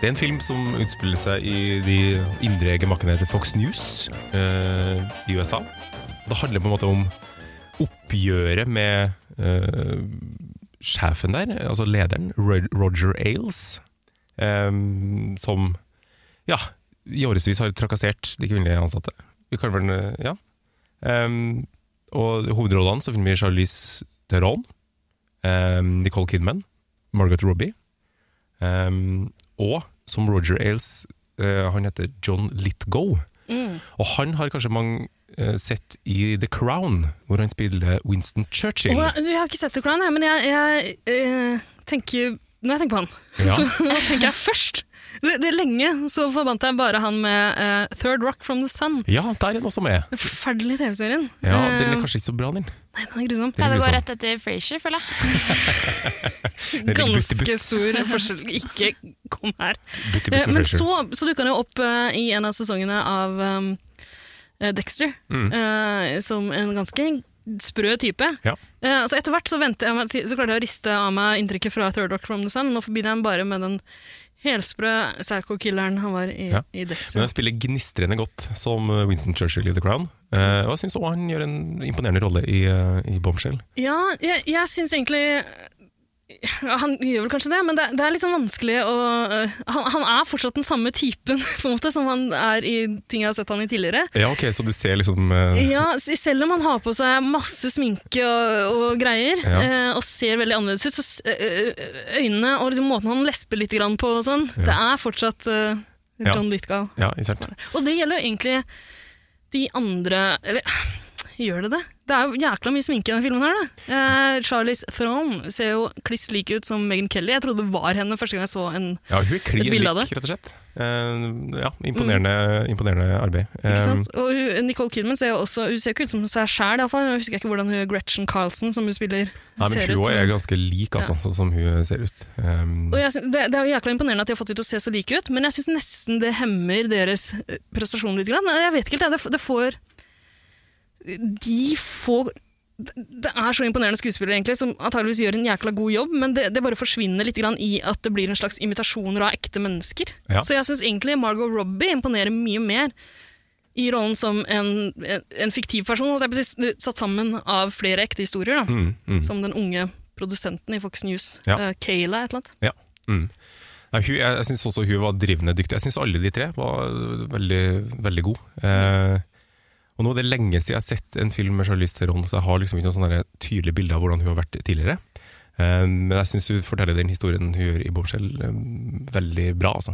Det er en film som utspiller seg i de indre gemakkene til Fox News eh, i USA. Det handler på en måte om oppgjøret med eh, sjefen der, altså lederen, Ro- Roger Ailes, eh, som ja, i årevis har trakassert de kvinnelige ansatte. Vi kaller den eh, ja. Em, og hovedrollene så finner vi Charlize Theron, em, Nicole Kidman, Margaret Robbie, em, og som Roger Ailes, eh, han heter John Litgo.
Mm.
Og han har kanskje mange eh, sett i The Crown, hvor han spiller Winston Churchill.
Og jeg, jeg har ikke sett The Crown, jeg, men jeg, jeg eh, tenker Når jeg tenker på han,
Ja.
så tenker jeg først det, det Lenge så forbandt jeg bare han med eh, Third Rock from the Sun.
ja, der er den også med.
Den forferdelige TV-serien.
Ja,
Eh,
Den er kanskje ikke så bra, den.
nei, den er grusom.
Ja,
Den er
det går
grusom.
rett etter Frasier, føler jeg.
er litt butt i
Ganske
butt.
stor forskjell. Ikke kom her.
Butt i butt
Eh,
med
Men
Frasier.
så, så dukka han jo opp eh, i en av sesongene av um, eh, Dexter,
Mm.
eh, som en ganske sprø type.
Ja.
Eh, så etter hvert så, ventet jeg meg til, så klarte jeg å riste av meg inntrykket fra Third Rock from the Sun. Nå forbinder jeg ham bare med den helsprø psycho-killeren han var i,
Ja.
i
Men
Dexter.
han spiller gnistrende godt som eh, Winston Churchill i The Crown. Eh, og jeg syns òg han gjør en imponerende rolle i, eh, i Bombshell.
Ja, jeg, jeg syns egentlig ja, han gjør vel kanskje det, men det, det er liksom vanskelig å eh, han, han er fortsatt den samme typen på en måte, som han er i ting jeg har sett han i tidligere.
Ja, ok, så du ser liksom eh,
Ja, s- selv om han har på seg masse sminke og, og greier,
Ja.
eh, og ser veldig annerledes ut, så s- ø- ø- øynene og liksom måten han lesper litt grann på og sånn,
Ja.
det er fortsatt eh,
Ja.
John Lithgow.
Ja, ikke sant?
Og det gjelder jo egentlig de andre Eller gjør det det? Det er jo jækla mye sminke i denne filmen her, da. Eh, Charlize Theron ser jo kliss lik ut som Meghan Kelly. Jeg trodde det var henne første gang jeg så en
Ja, hun er klin
Et
lik,
bilde av Mm.
rett og slett. Eh, ja, imponerende, imponerende arbeid. Eh,
Ikke sant? Og hun, Nicole Kidman ser jo også Hun ser jo ikke ut som seg sjæl, iallfall. Jeg husker ikke hvordan hun Gretchen Carlsen, som hun spiller,
nei, men
ser
hun
ut.
også
men-
er ganske lik, altså, sånn som hun ser ut. Eh,
Og jeg syns- det, det er jo jækla imponerende at de har fått dem til å se så like ut, men jeg syns nesten det hemmer deres eh, prestasjon litt. Grann. Jeg vet ikke helt, jeg. det, f- det får De får det det er så imponerende skuespillere egentlig, som antageligvis gjør en jækla god jobb, men det, det bare forsvinner litt grann i at det blir en slags imitasjoner av ekte mennesker.
Ja.
Så jeg syns egentlig Margot Robbie imponerer mye mer i rollen som en, en, en fiktiv person, holdt jeg på å si, satt sammen av flere ekte historier, da.
mm, mm.
Som den unge produsenten i Fox News,
Ja.
eh, Kayla et eller annet.
Mm. Nei, hun, jeg jeg syns også hun var drivende dyktig. Jeg syns alle de tre var øh, veldig, veldig gode. Eh, og nå er det lenge siden jeg har sett en film med Charlize Theron, så jeg har liksom ikke noe sånn der tydelig bilde av hvordan hun har vært tidligere. Eh, men jeg syns hun forteller den historien hun gjør i Bombshell eh, veldig bra, altså.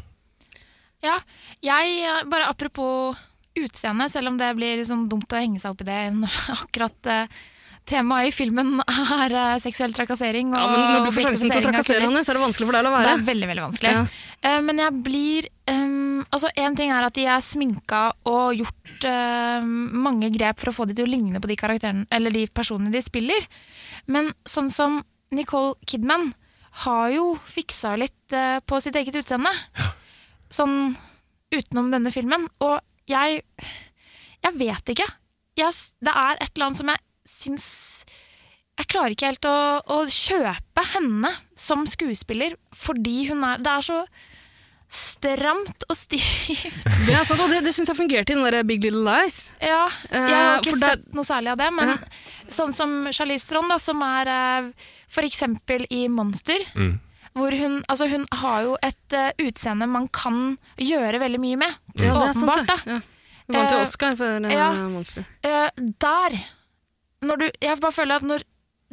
Ja, jeg, eh, bare apropos utseende, selv om det blir sånn dumt å henge seg opp i det når akkurat eh, temaet i filmen er eh, seksuell trakassering. Og
Ja, men når du får sjansen til å
objektifisering av
trakassere
kvinner.
henne, så er det vanskelig for deg å la
Det
være.
er veldig, veldig vanskelig. Eh, men jeg blir um, Altså, én ting er at de er sminka og gjort eh, mange grep for å få de til å ligne på de karakterene Eller de personene de spiller. Men sånn som Nicole Kidman har jo fiksa litt eh, på sitt eget utseende. Sånn utenom denne filmen. Og jeg Jeg vet ikke. Jeg, s- det er et eller annet som jeg syns jeg klarer ikke helt å, å kjøpe henne som skuespiller, fordi hun er Det er så stramt og stivt.
Det er sant, og det, det syns jeg fungerte i den der Big Little Lies.
Ja, jeg har
eh,
ikke
for det-
sett noe særlig av det, men sånn som Charlize Theron, da, som er eh, for eksempel i Monster,
Mm.
hvor hun Altså, hun har jo et eh, utseende man kan gjøre veldig mye med.
Ja, det er sant,
åpenbart, da.
det. Ja. Hun vant jo
Eh,
Oscar for eh,
ja.
Monster.
Eh, der når du, Jeg bare føler at når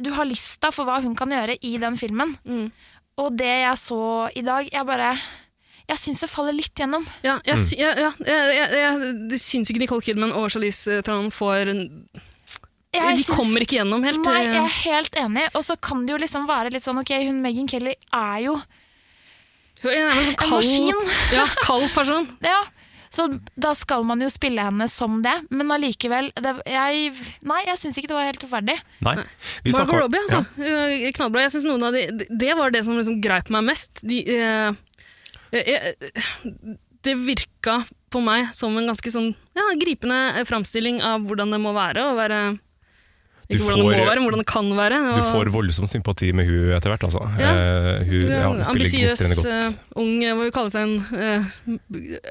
du har lista for hva hun kan gjøre i den filmen,
Mm.
og det jeg så i dag Jeg bare Jeg syns det faller litt gjennom.
Ja, jeg, sy- ja, ja, jeg, jeg, jeg, jeg syns ikke Nicole Kidman og Charlize eh, Theron får en-
Jeg
De
syns-
kommer ikke gjennom helt.
Nei,
eh,
jeg er helt enig. Og så kan det jo liksom være litt sånn Ok, hun Megan Kelly er jo
Hun er en sånn
en
kald,
maskin.
ja, kald person.
Ja. Så da skal man jo spille henne som det, men allikevel det, jeg, Nei, jeg syns ikke det var helt rettferdig.
Nei. Vi
Margot
snakker-
Robbie, altså. Eh, Knallbra. Jeg synes noen av de, de- Det var det som liksom greip meg mest. De, eh, eh, eh, det virka på meg som en ganske sånn ja, gripende framstilling av hvordan det må være å være
Du
Ikke hvordan det
får-
må være, men hvordan det kan være.
Ja.
Og,
Du får voldsom sympati med hun etter hvert, altså.
Ja.
Eh, hun ja,
en
spiller
ambisiøs,
gnistrende
eh,
godt.
ung eh, Hva vil kalle seg en eh,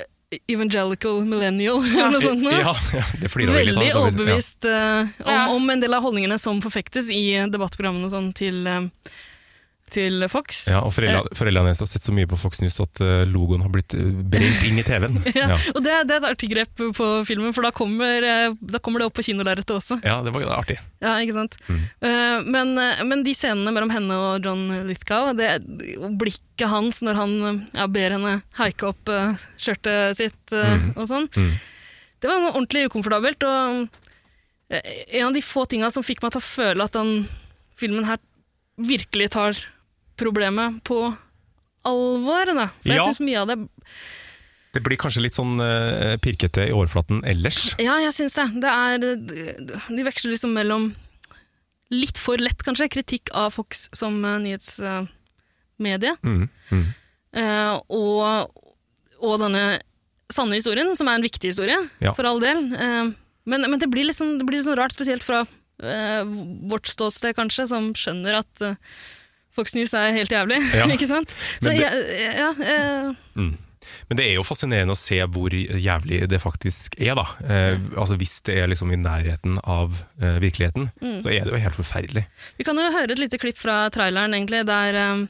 evangelical millennial, eller noe sånt. nå.
ja, ja, det flirer vi litt av.
Veldig
da. Ja.
overbevist eh, om,
Ja.
om en del av holdningene som forfektes i debattprogrammene og sånn til eh, til Fox.
Ja, og foreldra, Foreldrene hennes har sett så mye på Fox News at eh, logoen har blitt eh, brent inn i TV-en.
Ja,
Ja.
Og det, det er et artig grep på filmen, for da kommer, eh, da kommer det opp på kinolerretet også.
ja, det var artig.
Ja, ikke sant?
Mm.
Eh, men, eh, men de scenene mellom henne og John Lithgow, det, og blikket hans når han eh, ja, ber henne haike opp eh, skjørtet sitt eh, og sånn,
Mm.
det var noe ordentlig ukomfortabelt. Og eh, en av de få tinga som fikk meg til å føle at den filmen her virkelig tar problemet på alvor. Da. For
Ja.
jeg syns mye av det
Det blir kanskje litt sånn eh, pirkete i overflaten ellers.
Ja, jeg syns det. det er, de veksler liksom mellom litt for lett, kanskje, kritikk av Fox som eh, nyhetsmedie,
Mm. Mm.
eh, og, og denne sanne historien, som er en viktig historie,
Ja.
for all del. Eh, men, men det blir litt sånn, det blir litt sånn rart, spesielt fra eh, vårt ståsted, kanskje, som skjønner at eh, Fox News er helt jævlig,
Ja.
ikke sant? Så
Men det-
jeg, ja, eh,
Mm. Men det er jo fascinerende å se hvor jævlig det faktisk er, da. Eh, altså Hvis det er liksom i nærheten av eh, virkeligheten, så er det jo helt forferdelig.
Vi kan jo høre et lite klipp fra traileren, egentlig, der, eh,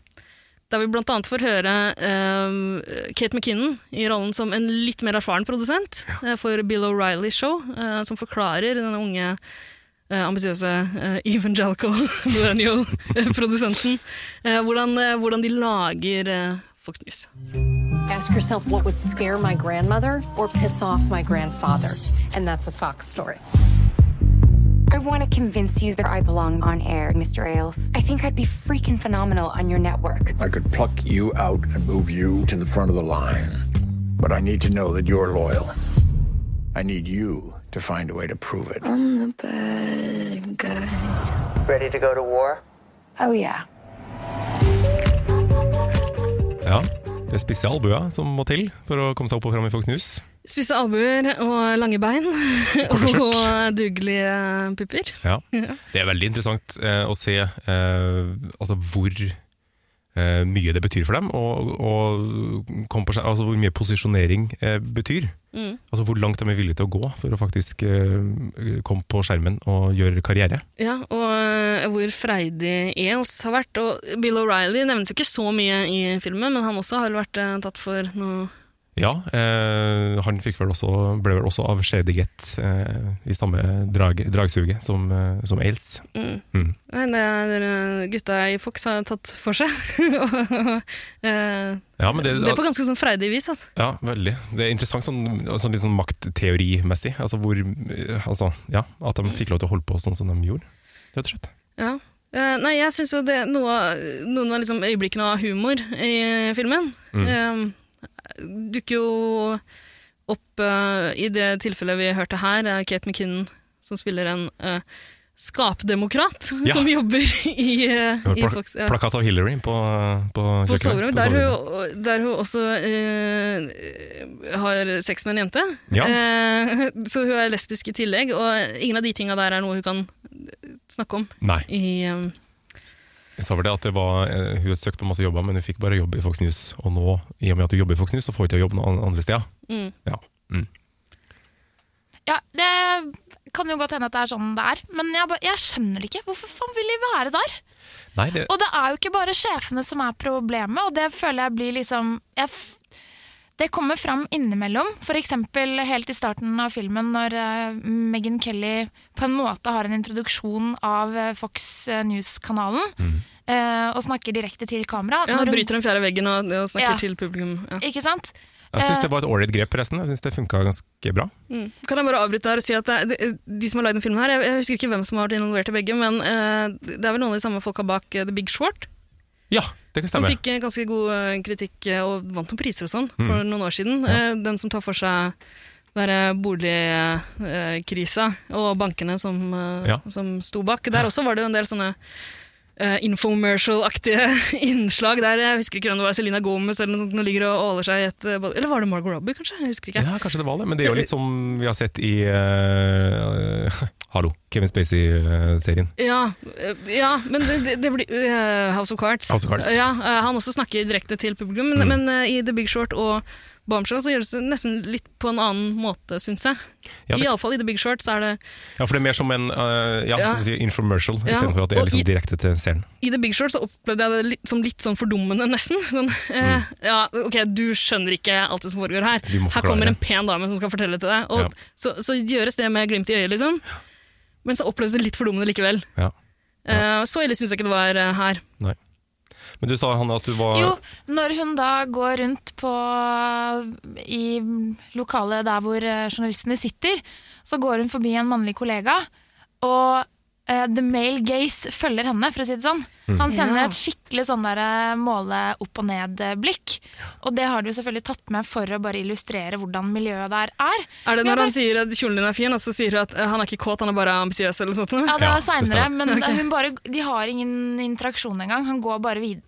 der vi blant annet får høre eh, Kate McKinnon i rollen som en litt mer erfaren produsent eh, for Bill O'Reilly Show, eh, som forklarer denne unge eh, ambisiøse eh, evangelical millennial-produsenten eh, hvordan, eh, hvordan de lager eh, Fox News.
Ask yourself what would scare my grandmother or piss off my grandfather. And that's a Fox story.
I want to convince you that I belong on air, Mr. Ailes. I think I'd be freaking phenomenal on your network.
I could pluck you out and move you to the front of the line. But I need to know that you're loyal. I need you to find a way to prove it.
Ready to go to war?
Oh, yeah.
Ja, Det er spisse albuer som må til for å komme seg opp og fram i Fox News.
Spisse albuer og lange bein
Korte skjørt.
og dugelige pupper.
Ja. Det er veldig interessant eh, å se eh, altså hvor eh, mye det betyr for dem, og, og kom på seg, altså hvor mye posisjonering eh, betyr.
Mm.
Altså hvor langt de er villige til å gå for å faktisk eh, komme på skjermen og gjøre karriere.
Ja, og øh, hvor freidig Ailes har vært. Og Bill O'Reilly nevnes jo ikke så mye i filmen, men han også har vel vært øh, tatt for noe
Ja, eh, han fikk vel også, ble vel også av Shady Get eh, i samme drag, dragsuget som, eh, som Ailes.
mm. Nei, det er øh, gutta i Fox har tatt for seg. Og, øh,
Ja, men det,
det er på ganske sånn freidig vis, altså.
ja, veldig. Det er interessant sånn, altså litt sånn maktteorimessig. Altså hvor eh, Altså, ja. At de fikk lov til å holde på sånn som de gjorde. Rett og slett.
Ja. Eh, nei, jeg syns jo det noe, av- Noen av liksom øyeblikkene av humor i filmen
Mm.
eh, dukker jo opp eh, i det tilfellet vi hørte her. er Kate McKinnon som spiller en eh, skapdemokrat
Ja.
som jobber i, eh,
Det var
i
pla-
Fox. Ja.
Plakat av Hillary på, på
På
kjøkkenet.
soverommet,
På
der,
soverommet.
hun- der hun også eh, har sex med en jente.
Ja.
Eh, så hun er lesbisk i tillegg, og ingen av de tinga der er noe hun kan snakke om
Nei.
i eh,
Jeg sa vel det at det var, eh, hun hadde søkt på masse jobber, men hun fikk bare jobb i Fox News. Og nå, i og med at hun jobber i Fox News, så får hun ikke jobb noen andre steder.
Mm.
Ja. Mm.
Ja, det kan jo godt hende at det er sånn det er, men jeg, ba- jeg skjønner det ikke. Hvorfor faen vil de være der?
Nei, det,
Og det er jo ikke bare sjefene som er problemet, og det føler jeg blir liksom jeg f Det kommer fram innimellom. F.eks. helt i starten av filmen når eh, Megyn Kelly på en måte har en introduksjon av eh, Fox eh, News-kanalen eh, og snakker direkte til kamera.
Ja,
når hun-
bryter den fjerde veggen og, og snakker
Ja.
til publikum. Ja.
Ikke sant?
jeg
eh,
syns det var et ålreit grep, forresten. Jeg syns det funka ganske bra.
Kan jeg bare avbryte der og si at det er, det, de som har lagd denne filmen her, jeg, jeg husker ikke hvem som har vært involvert i begge, men eh, det er vel noen av de samme folka bak eh, The Big Short,
Ja, det kan
som
stemme.
fikk eh, ganske god eh, kritikk eh, og vant noen priser og sånn for
Mm.
noen år siden. Eh, den som tar for seg den derre boligkrisa og bankene som, eh,
Ja.
som sto bak. Der også var det jo en del sånne eh, infomercial-aktige innslag der. Jeg husker ikke hvem det var, Selena Gomez eller noe sånt, nå ligger og åler seg i et eh, bad- Eller var det Margot Robbie, kanskje? Jeg husker ikke.
Ja, kanskje det var det. Men det er jo litt som vi har sett i eh, Hallo, Kevin eh, Spacey-serien.
Ja, øh, ja men det, det, det blir øh, House of Cards. eh,
House of Cards. Mm.
Ja, øh, han også snakker direkte til publikum, men, men øh, i The eh, Big Short og Bombshell så gjøres det nesten litt på en annen måte, syns jeg.
Ja, det-
Iallfall i The Big Short så er det
Ja, for det er mer som en eh, ja,
Ja.
Som du sier, infomercial,
Ja,
istedenfor at det er
og
liksom
i-
direkte til seeren.
I The Big Short så opplevde jeg det litt, som litt sånn fordummende, nesten. Sånn, eh, ja, ok, du skjønner ikke alt det som foregår her.
Mm. Vi må
Her
forklare.
kommer en pen dame som skal fortelle til deg. Og
Ja.
så, så gjøres det med glimt i øyet, liksom. Men så oppleves det litt fordummende likevel.
Ja.
Eh, så ille syns jeg ikke det var eh, her.
Nei. Men du sa Hanne, at du var
Jo, når hun da går rundt på, i lokalet der hvor eh, journalistene sitter, så går hun forbi en mannlig kollega, og eh, the male gaze følger henne, for å si det sånn.
Mm.
Han sender
Ja.
et skikkelig sånn der eh, måle opp og ned-blikk, og det har du selvfølgelig tatt med for å bare illustrere hvordan miljøet der er.
Er det
Men jeg
når han
bare-
sier at kjolen din er fin, og så sier hun at eh, han er ikke kåt, han er bare ambisiøs, eller noe sånt?
Ja, det var seinere, men
Ok.
hun bare, de har ingen interaksjon engang. Han går bare videre.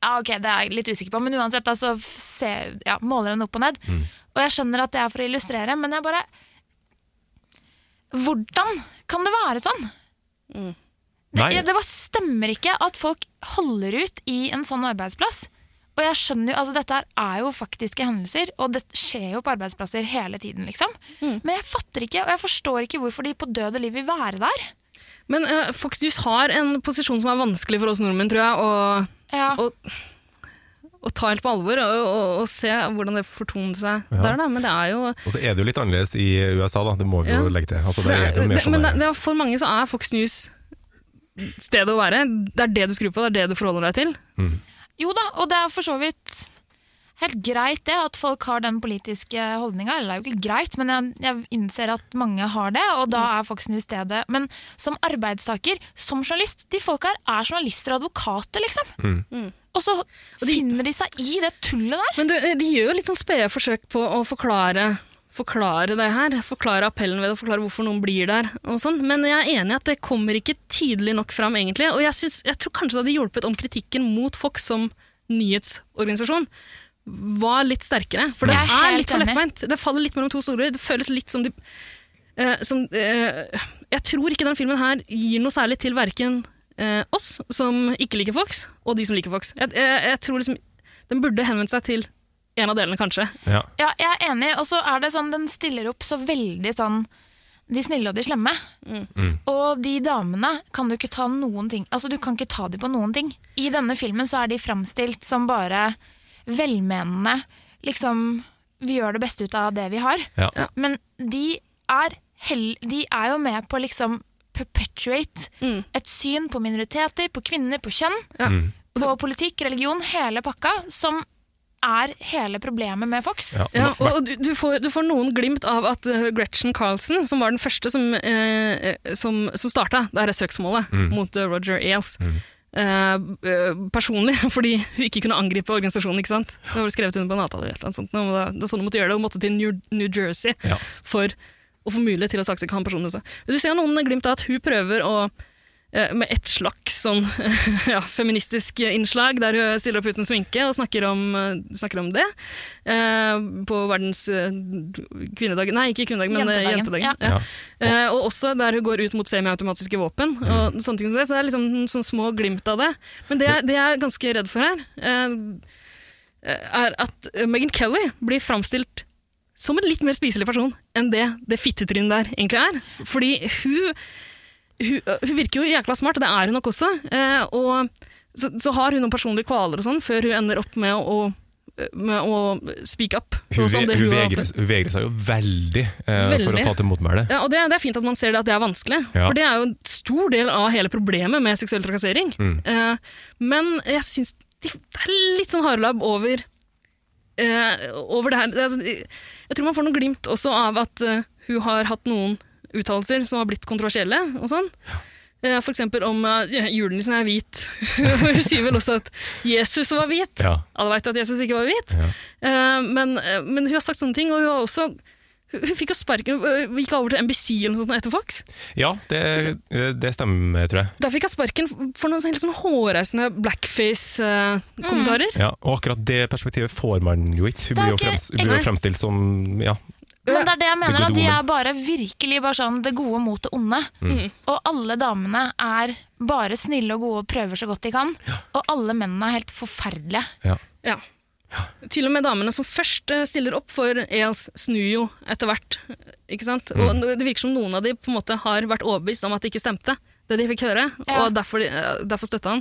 Ja, ok, Det er jeg litt usikker på, men uansett da, så f- se, ja, måler hun opp og ned. Og jeg skjønner at det er for å illustrere, men jeg bare Hvordan kan det være sånn? Det,
Nei.
det bare stemmer ikke at folk holder ut i en sånn arbeidsplass. Og jeg skjønner jo, altså Dette her er jo faktiske hendelser, og det skjer jo på arbeidsplasser hele tiden. liksom. Men jeg fatter ikke, og jeg forstår ikke hvorfor de på død og liv vil være der.
Men eh, Fox News har en posisjon som er vanskelig for oss nordmenn, tror jeg, å, å, å ta helt på alvor og, og, og se hvordan det fortoner seg
Ja.
der, da. Men det er jo
Og så er det jo litt annerledes i USA, da. Det må vi jo
Ja.
legge til. Altså, det er jo mer
det,
sånn
men
det
det, det er for mange så er Fox News stedet å være. Det er det du skrur på, det er det du forholder deg til.
Jo da, og det er for så vidt helt greit det at folk har den politiske holdninga. Eller det er jo ikke greit, men jeg, jeg innser at mange har det, og da er Fox News stedet. Men som arbeidstaker, som journalist, de folka her er journalister og advokater, liksom.
Mm.
Og så finner de seg i det tullet der.
Men du, de gjør jo litt sånn spede forsøk på å forklare, forklare det her. Forklare appellen ved det, forklare hvorfor noen blir der og sånn. Men jeg er enig i at det kommer ikke tydelig nok fram, egentlig. Og jeg, synes, jeg tror kanskje det hadde hjulpet om kritikken mot Fox som nyhetsorganisasjon var litt sterkere. For det
Jeg er
er
helt
litt for
enig.
lettbeint. Det faller litt mellom to stoler. Det føles litt som de eh, som, eh, Jeg tror ikke den filmen her gir noe særlig til verken oss som ikke liker Fox, og de som liker Fox. Jeg, jeg, jeg tror liksom Den burde henvendt seg til en av delene, kanskje.
Ja.
Ja, jeg er enig, og så er det sånn, den stiller opp så veldig sånn de snille og de slemme.
Mm.
Og de damene kan du ikke ta noen ting Altså, du kan ikke ta dem på noen ting. I denne filmen så er de framstilt som bare velmenende. Liksom Vi gjør det beste ut av det vi har.
Ja. Ja.
Men de er, hell, de er jo med på liksom perpetuate et syn på minoriteter, på kvinner, på kjønn.
Mm.
På politikk, religion, hele pakka, som er hele problemet med Fox.
Ja.
Ja, og og du, du, får, du får noen glimt av at eh, Gretchen Carlsen, som var den første som, eh, eh, som, som starta det her søksmålet
Mm.
mot eh, Roger Ailes, eh, eh, personlig, fordi hun ikke kunne angripe organisasjonen. ikke sant? Det var vel skrevet under på en avtale eller et eller annet sånt. nå, men Det det er sånn hun måtte gjøre det. Hun måtte til New, New Jersey
Ja.
for å få mulighet til å saksøke han personlig. også. Men Du ser jo noen glimt av at hun prøver å eh, med et slags sånn ja, feministisk innslag, der hun stiller opp uten sminke og snakker om, eh, snakker om det. Eh, på verdens eh, kvinnedag Nei, ikke kvinnedag, men eh,
Jentedagen,
jentedagen.
ja.
Ja. Eh, og også der hun går ut mot semiautomatiske våpen. Og sånne ting som det, Så det er liksom noen sånne små glimt av det. Men det, jeg- det jeg er ganske redd for her, eh, er at Megan Kelly blir framstilt som en litt mer spiselig person enn det det fittetrynet der egentlig er. Fordi hun, hun, hun virker jo jækla smart, og det er hun nok også. Eh, og så, så har hun noen personlige kvaler og sånn, før hun ender opp med å, med å speak up.
Hun,
Og sånn,
ve-
det
hun,
har
vegrer,
opplevd.
hun vegrer seg jo veldig, eh, for
Veldig.
å ta til motmæle.
Ja, og det, det er fint at man ser det at det er vanskelig,
Ja.
for det er jo en stor del av hele problemet med seksuell trakassering.
Mm.
Eh, men jeg syns det det er litt sånn harelabb over, eh, over det her. Det er sånn- jeg tror man får noen glimt også av at eh, hun har hatt noen uttalelser som har blitt kontroversielle og sånn. Eh, for eksempel om eh, ja, julenissen er hvit. hun sier vel også at Jesus var hvit.
Ja.
Alle veit at Jesus ikke var hvit. Eh, men, eh, men hun har sagt sånne ting, og hun har også hun, hun fikk jo sparken, hun øh, gikk over til NBC eller noe sånt etter Fox.
Ja, det, det stemmer, tror jeg.
Der fikk hun sparken for noen helt sånn hårreisende eh, blackface-kommentarer.
Ja, og akkurat det perspektivet får man jo ikke. Hun
Det er
blir jo
ikke-
frems, hun blir jo
Nei.
fremstilt som ja,
Men det er det jeg mener,
gode
at de
onde.
er bare virkelig bare sånn det gode mot det onde.
Mm.
Og alle damene er bare snille og gode og prøver så godt de kan. Og alle mennene er helt forferdelige.
ja.
Til og med damene som først eh, stiller opp for ELS, snur jo etter hvert. Ikke sant?
Mm.
Og det virker som noen av de på en måte har vært overbevist om at det ikke stemte, det de fikk høre,
Ja.
og derfor, de- eh, derfor støtta han.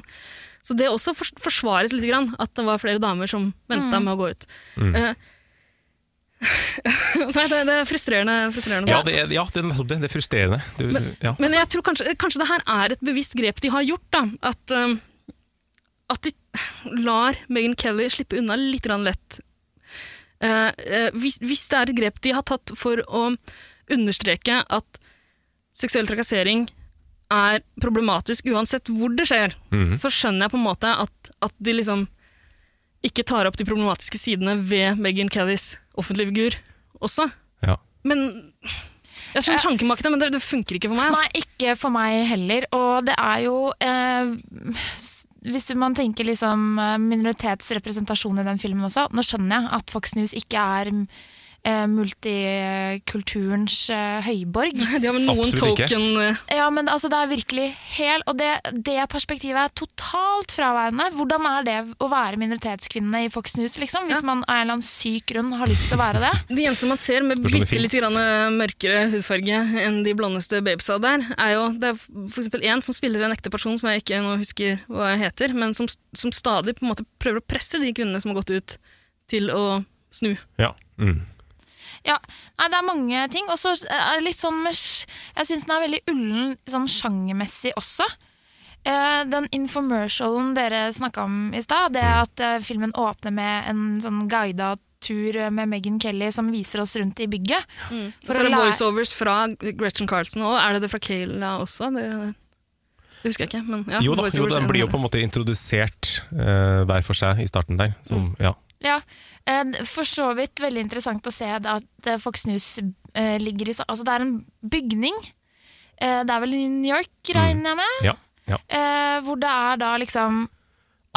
Så det også fors- forsvares litt, grann, at det var flere damer som venta med å gå ut.
Mm.
Eh, Nei, det, det er frustrerende. frustrerende
Ja, det er, ja, det er nettopp det. Det er frustrerende. Du,
Men-
ja.
Men jeg tror kanskje, kanskje det her er et bevisst grep de har gjort. da, At, um, at de lar Meghan Kelly slippe unna litt grann lett. Eh, eh, hvis, hvis det er et grep de har tatt for å understreke at seksuell trakassering er problematisk uansett hvor det skjer,
Mhm.
så skjønner jeg på en måte at, at de liksom ikke tar opp de problematiske sidene ved Meghan Kellys offentlige figur også.
Ja.
Men jeg skjønner tankemakene, men det, det funker ikke for meg. Altså.
Nei, ikke for meg heller. Og det er jo eh, Hvis man tenker liksom eh, minoritetsrepresentasjon i den filmen også Nå skjønner jeg at Fox News ikke er eh, multikulturens eh, høyborg.
De har vel noen
Absolutt ikke.
token eh,
Ja, men altså, det er virkelig hel Og det, det perspektivet er totalt fraværende. Hvordan er det å være minoritetskvinne i Fox News, liksom? Hvis man av en eller annen syk grunn har lyst til å være det.
De eneste man ser med
Spørs om det
bitte litt
finnes.
grann eh, mørkere hudfarge enn de blondeste babesa der, er jo Det er for eksempel én som spiller en ekte person som jeg ikke nå husker hva heter, men som, som stadig på en måte prøver å presse de kvinnene som har gått ut, til å snu.
Ja. Mm.
Ja, nei, det er mange ting. Og så er det litt sånn med sj- Jeg syns den er veldig ullen sånn sjangermessig også. Eh, den infomercialen dere snakka om i stad, det at eh, filmen åpner med en sånn guida tur med Meghan Kelly som viser oss rundt i bygget.
For
å
Mm. så er det
lære-
voiceovers fra Gretchen Carlsen, og er det det fra Kayla også? Det, det husker jeg ikke, men ja.
Jo da, jo,
voiceovers
den
er
blir jo
det.
på en måte introdusert eh, hver for seg i starten der. Som, ja.
Ja, eh, for så vidt veldig interessant å se det at eh, Fox News eh, ligger i sa- Altså, det er en bygning. Eh, det er vel i New York, regner jeg med?
Ja, ja.
Eh, hvor det er da liksom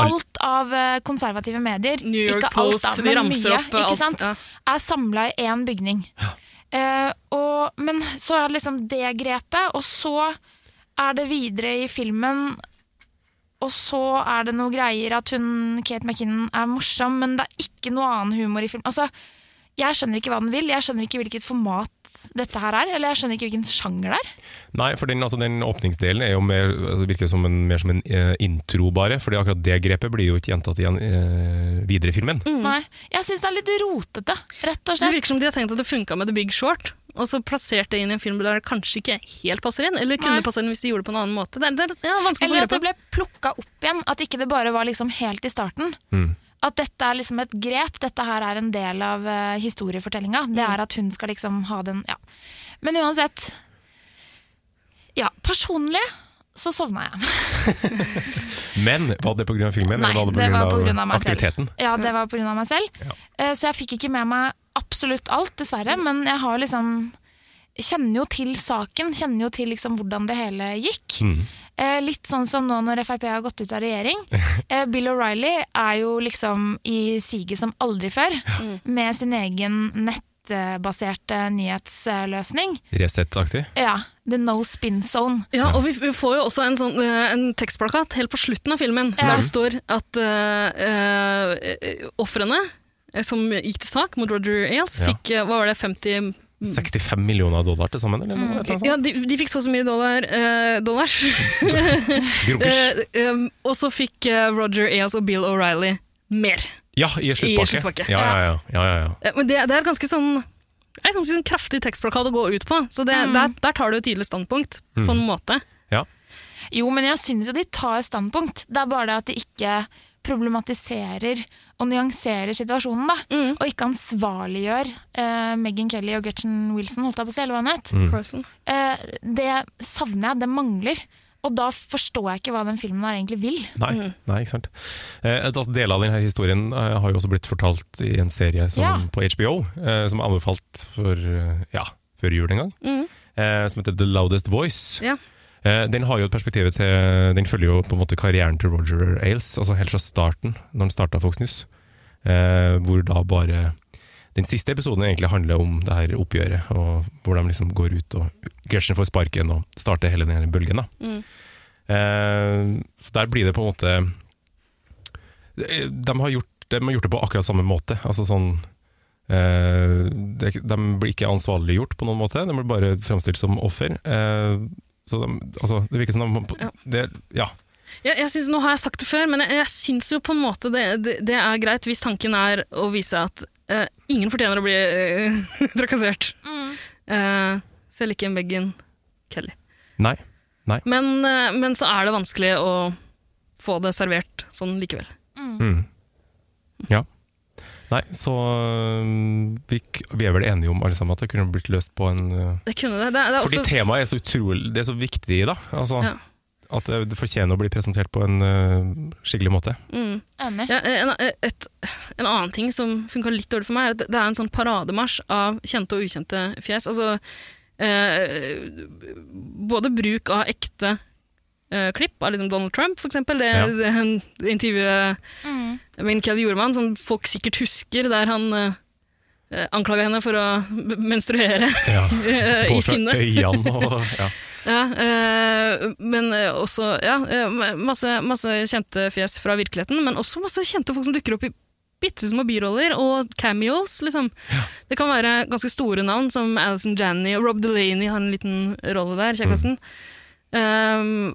Al-
Alt av eh, konservative medier,
New York
ikke
Post,
alt, da,
de
men
ramser
mye,
opp eh,
ikke
alt,
sant?
ja.
er samla i én bygning. Eh, og, men så er det liksom det grepet, og så er det videre i filmen og så er det noe greier at hun, Kate McKinnon er morsom, men det er ikke noe annen humor i filmen. Altså, jeg skjønner ikke hva den vil, jeg skjønner ikke hvilket format dette her er, eller jeg skjønner ikke hvilken sjanger det er.
Nei, for den, altså, den åpningsdelen er jo mer, altså, virker som en, mer som en eh, intro, bare. Fordi akkurat det grepet blir jo ikke gjentatt igjen eh, videre i filmen.
Nei, jeg syns det er litt rotete, rett
Mm.
og
Det
slett.
virker som de har tenkt at det funka med The Big Short, og så plassert det inn i en film der det kanskje ikke helt passer inn, eller kunne
Nei.
passe inn hvis de gjorde det på en annen måte. Det er, det er ja, vanskelig å få
Eller
greie
at det
på.
ble plukka opp igjen, at ikke det bare var liksom helt i starten.
Mm.
At dette er liksom et grep, dette her er en del av uh, historiefortellinga. Det
Mm.
er at hun skal liksom ha den Ja. Men uansett Ja, personlig så sovna jeg.
Men var det pga. filmen,
Nei,
eller var det
det
pga.
var på grunn av meg selv.
aktiviteten?
Ja, det var pga. meg selv.
Ja.
Eh, Så jeg fikk ikke med meg absolutt alt, dessverre. Men jeg har liksom Kjenner jo til saken, kjenner jo til liksom hvordan det hele gikk.
Mm.
Eh, Litt sånn som nå når Frp har gått ut av regjering. Eh, Bill O'Reilly er jo liksom i siget som aldri før, med sin egen nettbaserte nyhetsløsning.
Resett-aktig?
Ja, The No Spin Zone.
Ja, og vi, vi får jo også en, sånn, eh, en tekstplakat helt på slutten av filmen,
Ja.
der det står at uh, ofrene eh, som gikk til sak mot Roger Ailes,
Ja.
fikk eh, hva var det, 50
65 millioner dollar til sammen, eller noe? et eller annet sånt?
ja,
sånn.
de, de fikk så og så mye dollar, eh, dollars.
Grokers.
Eh, eh, og så fikk eh, Roger Ailes og Bill O'Reilly mer.
Ja, i en
i en
sluttpakke.
sluttpakke.
Ja, ja, ja. ja, ja, ja.
Eh, Men det, det er ganske sånn det er ganske sånn kraftig tekstplakat å gå ut på, så det, der, der tar du et tydelig standpunkt, på en måte.
Jo, men jeg syns jo de tar standpunkt. Det er bare det at de ikke problematiserer og nyanserer situasjonen, da. Og ikke ansvarliggjør eh, Meghan Kelly og Gretchen Wilson, holdt jeg på å si, eller hva hun het.
Carson.
Eh, det savner jeg, det mangler. Og da forstår jeg ikke hva den filmen her egentlig vil.
Nei, nei, ikke sant. Eh, altså, deler av denne historien eh, har jo også blitt fortalt i en serie som,
Ja.
på HBO, eh, som er anbefalt for, eh, ja, før jul en gang,
Mm.
eh, som heter The Loudest Voice.
Ja.
Eh, den har jo et perspektiv til Den følger jo på en måte karrieren til Roger Ailes, altså helt fra starten, når han starta Fox News. Eh, hvor da bare Den siste episoden egentlig handler om det her oppgjøret, og hvor de liksom går ut og Gretchen får sparken og starter hele den her bølgen. da.
Mm.
Eh, så der blir det på en måte De har gjort de har gjort det på akkurat samme måte. Altså sånn eh, det, De blir ikke ansvarliggjort på noen måte, de blir bare framstilt som offer. Eh, så de, altså, det virker som de
Ja.
det, Ja.
Jeg, jeg synes, nå har jeg sagt det før, men jeg, jeg syns jo på en måte det, det, det er greit hvis tanken er å vise at eh, ingen fortjener å bli eh, trakassert. Eh, selv ikke en Megan Kelly.
Nei.
Men, eh, men så er det vanskelig å få det servert sånn likevel.
Mm. Ja. Nei, så øh, vi, k- vi er vel enige om alle sammen at det kunne blitt løst på en øh,
Det kunne det. det, er- det er
Fordi
også,
temaet er så utrolig Det er så viktig, da. Altså,
Ja.
At det det fortjener å bli presentert på en øh, skikkelig måte.
Mm.
Enig.
Ja, en, eh, et, en annen ting som funka litt dårlig for meg, er at det er en sånn parademarsj av kjente og ukjente fjes. Altså eh, både bruk av ekte eh, klipp av liksom Donald Trump, for eksempel. Det,
Ja.
det, det intervjuet med Kelly Jormann, som folk sikkert husker, der han eh, anklaga henne for å b- menstruere
Ja.
eh, i sinne.
øynene og ja.
Ja, eh, men eh, også ja, eh, masse, masse kjente fjes fra virkeligheten, men også masse kjente folk som dukker opp i bitte små biroller og cameos. Liksom. Det kan være ganske store navn som Alison Janney og Rob Delaney har en liten rolle der. kjekkassen. Um,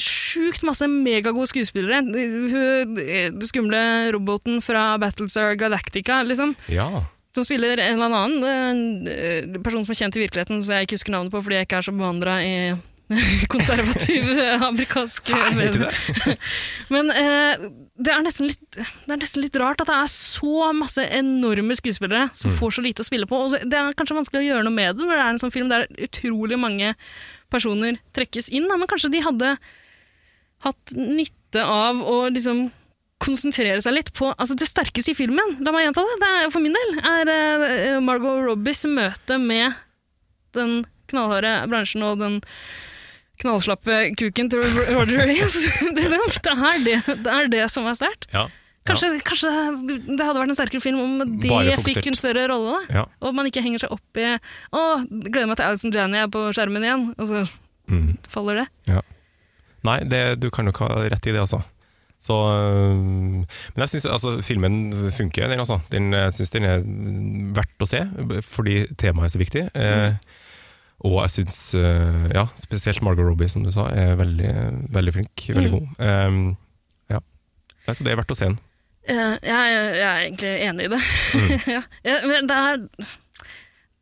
sjukt masse megagode skuespillere. Hun eh, skumle roboten fra Battlestar Galactica, liksom.
ja.
Som spiller en eller annen eh, en, eh, person som er kjent i virkeligheten, så jeg ikke husker navnet på fordi jeg ikke er så bevandra i konservativ eh, amerikansk
Nei, vet du
medier.
det?
Men eh, det, er nesten litt, det er nesten litt rart at det er så masse enorme skuespillere som
Mm.
får så lite å spille på. Og det- det er kanskje vanskelig å gjøre noe med det når det er en sånn film der utrolig mange personer trekkes inn. Da. Men kanskje de hadde hatt nytte av å liksom konsentrere seg litt på altså det sterkeste i filmen. La meg gjenta det. det er, for min del er eh, Margot Robbies møte med den knallharde bransjen og den knallslappe kuken til Roger Reigns. det, det, er det, det er det som er sterkt.
Ja.
Kanskje, kanskje det hadde vært en sterkere film om
Bare
det
fokusert.
fikk en større rolle. da.
Ja.
Og man ikke henger seg opp i 'Å, gleder meg til Alison Janney er på skjermen igjen', og så
Mm.
faller det.
Nei, det, du kan nok ha rett i det, altså. Så, øh, men jeg syns altså, filmen funker, den. Altså. den jeg syns den er verdt å se, fordi temaet er så viktig. Eh,
Mm.
og jeg syns, øh, ja, spesielt Margot Robbie, som du sa, er veldig, veldig flink. Veldig
Mm.
god. Ehm, ja. Nei, så det er verdt å se den.
Eh, jeg, jeg er egentlig enig i det. ja. Ja, men det er, det er,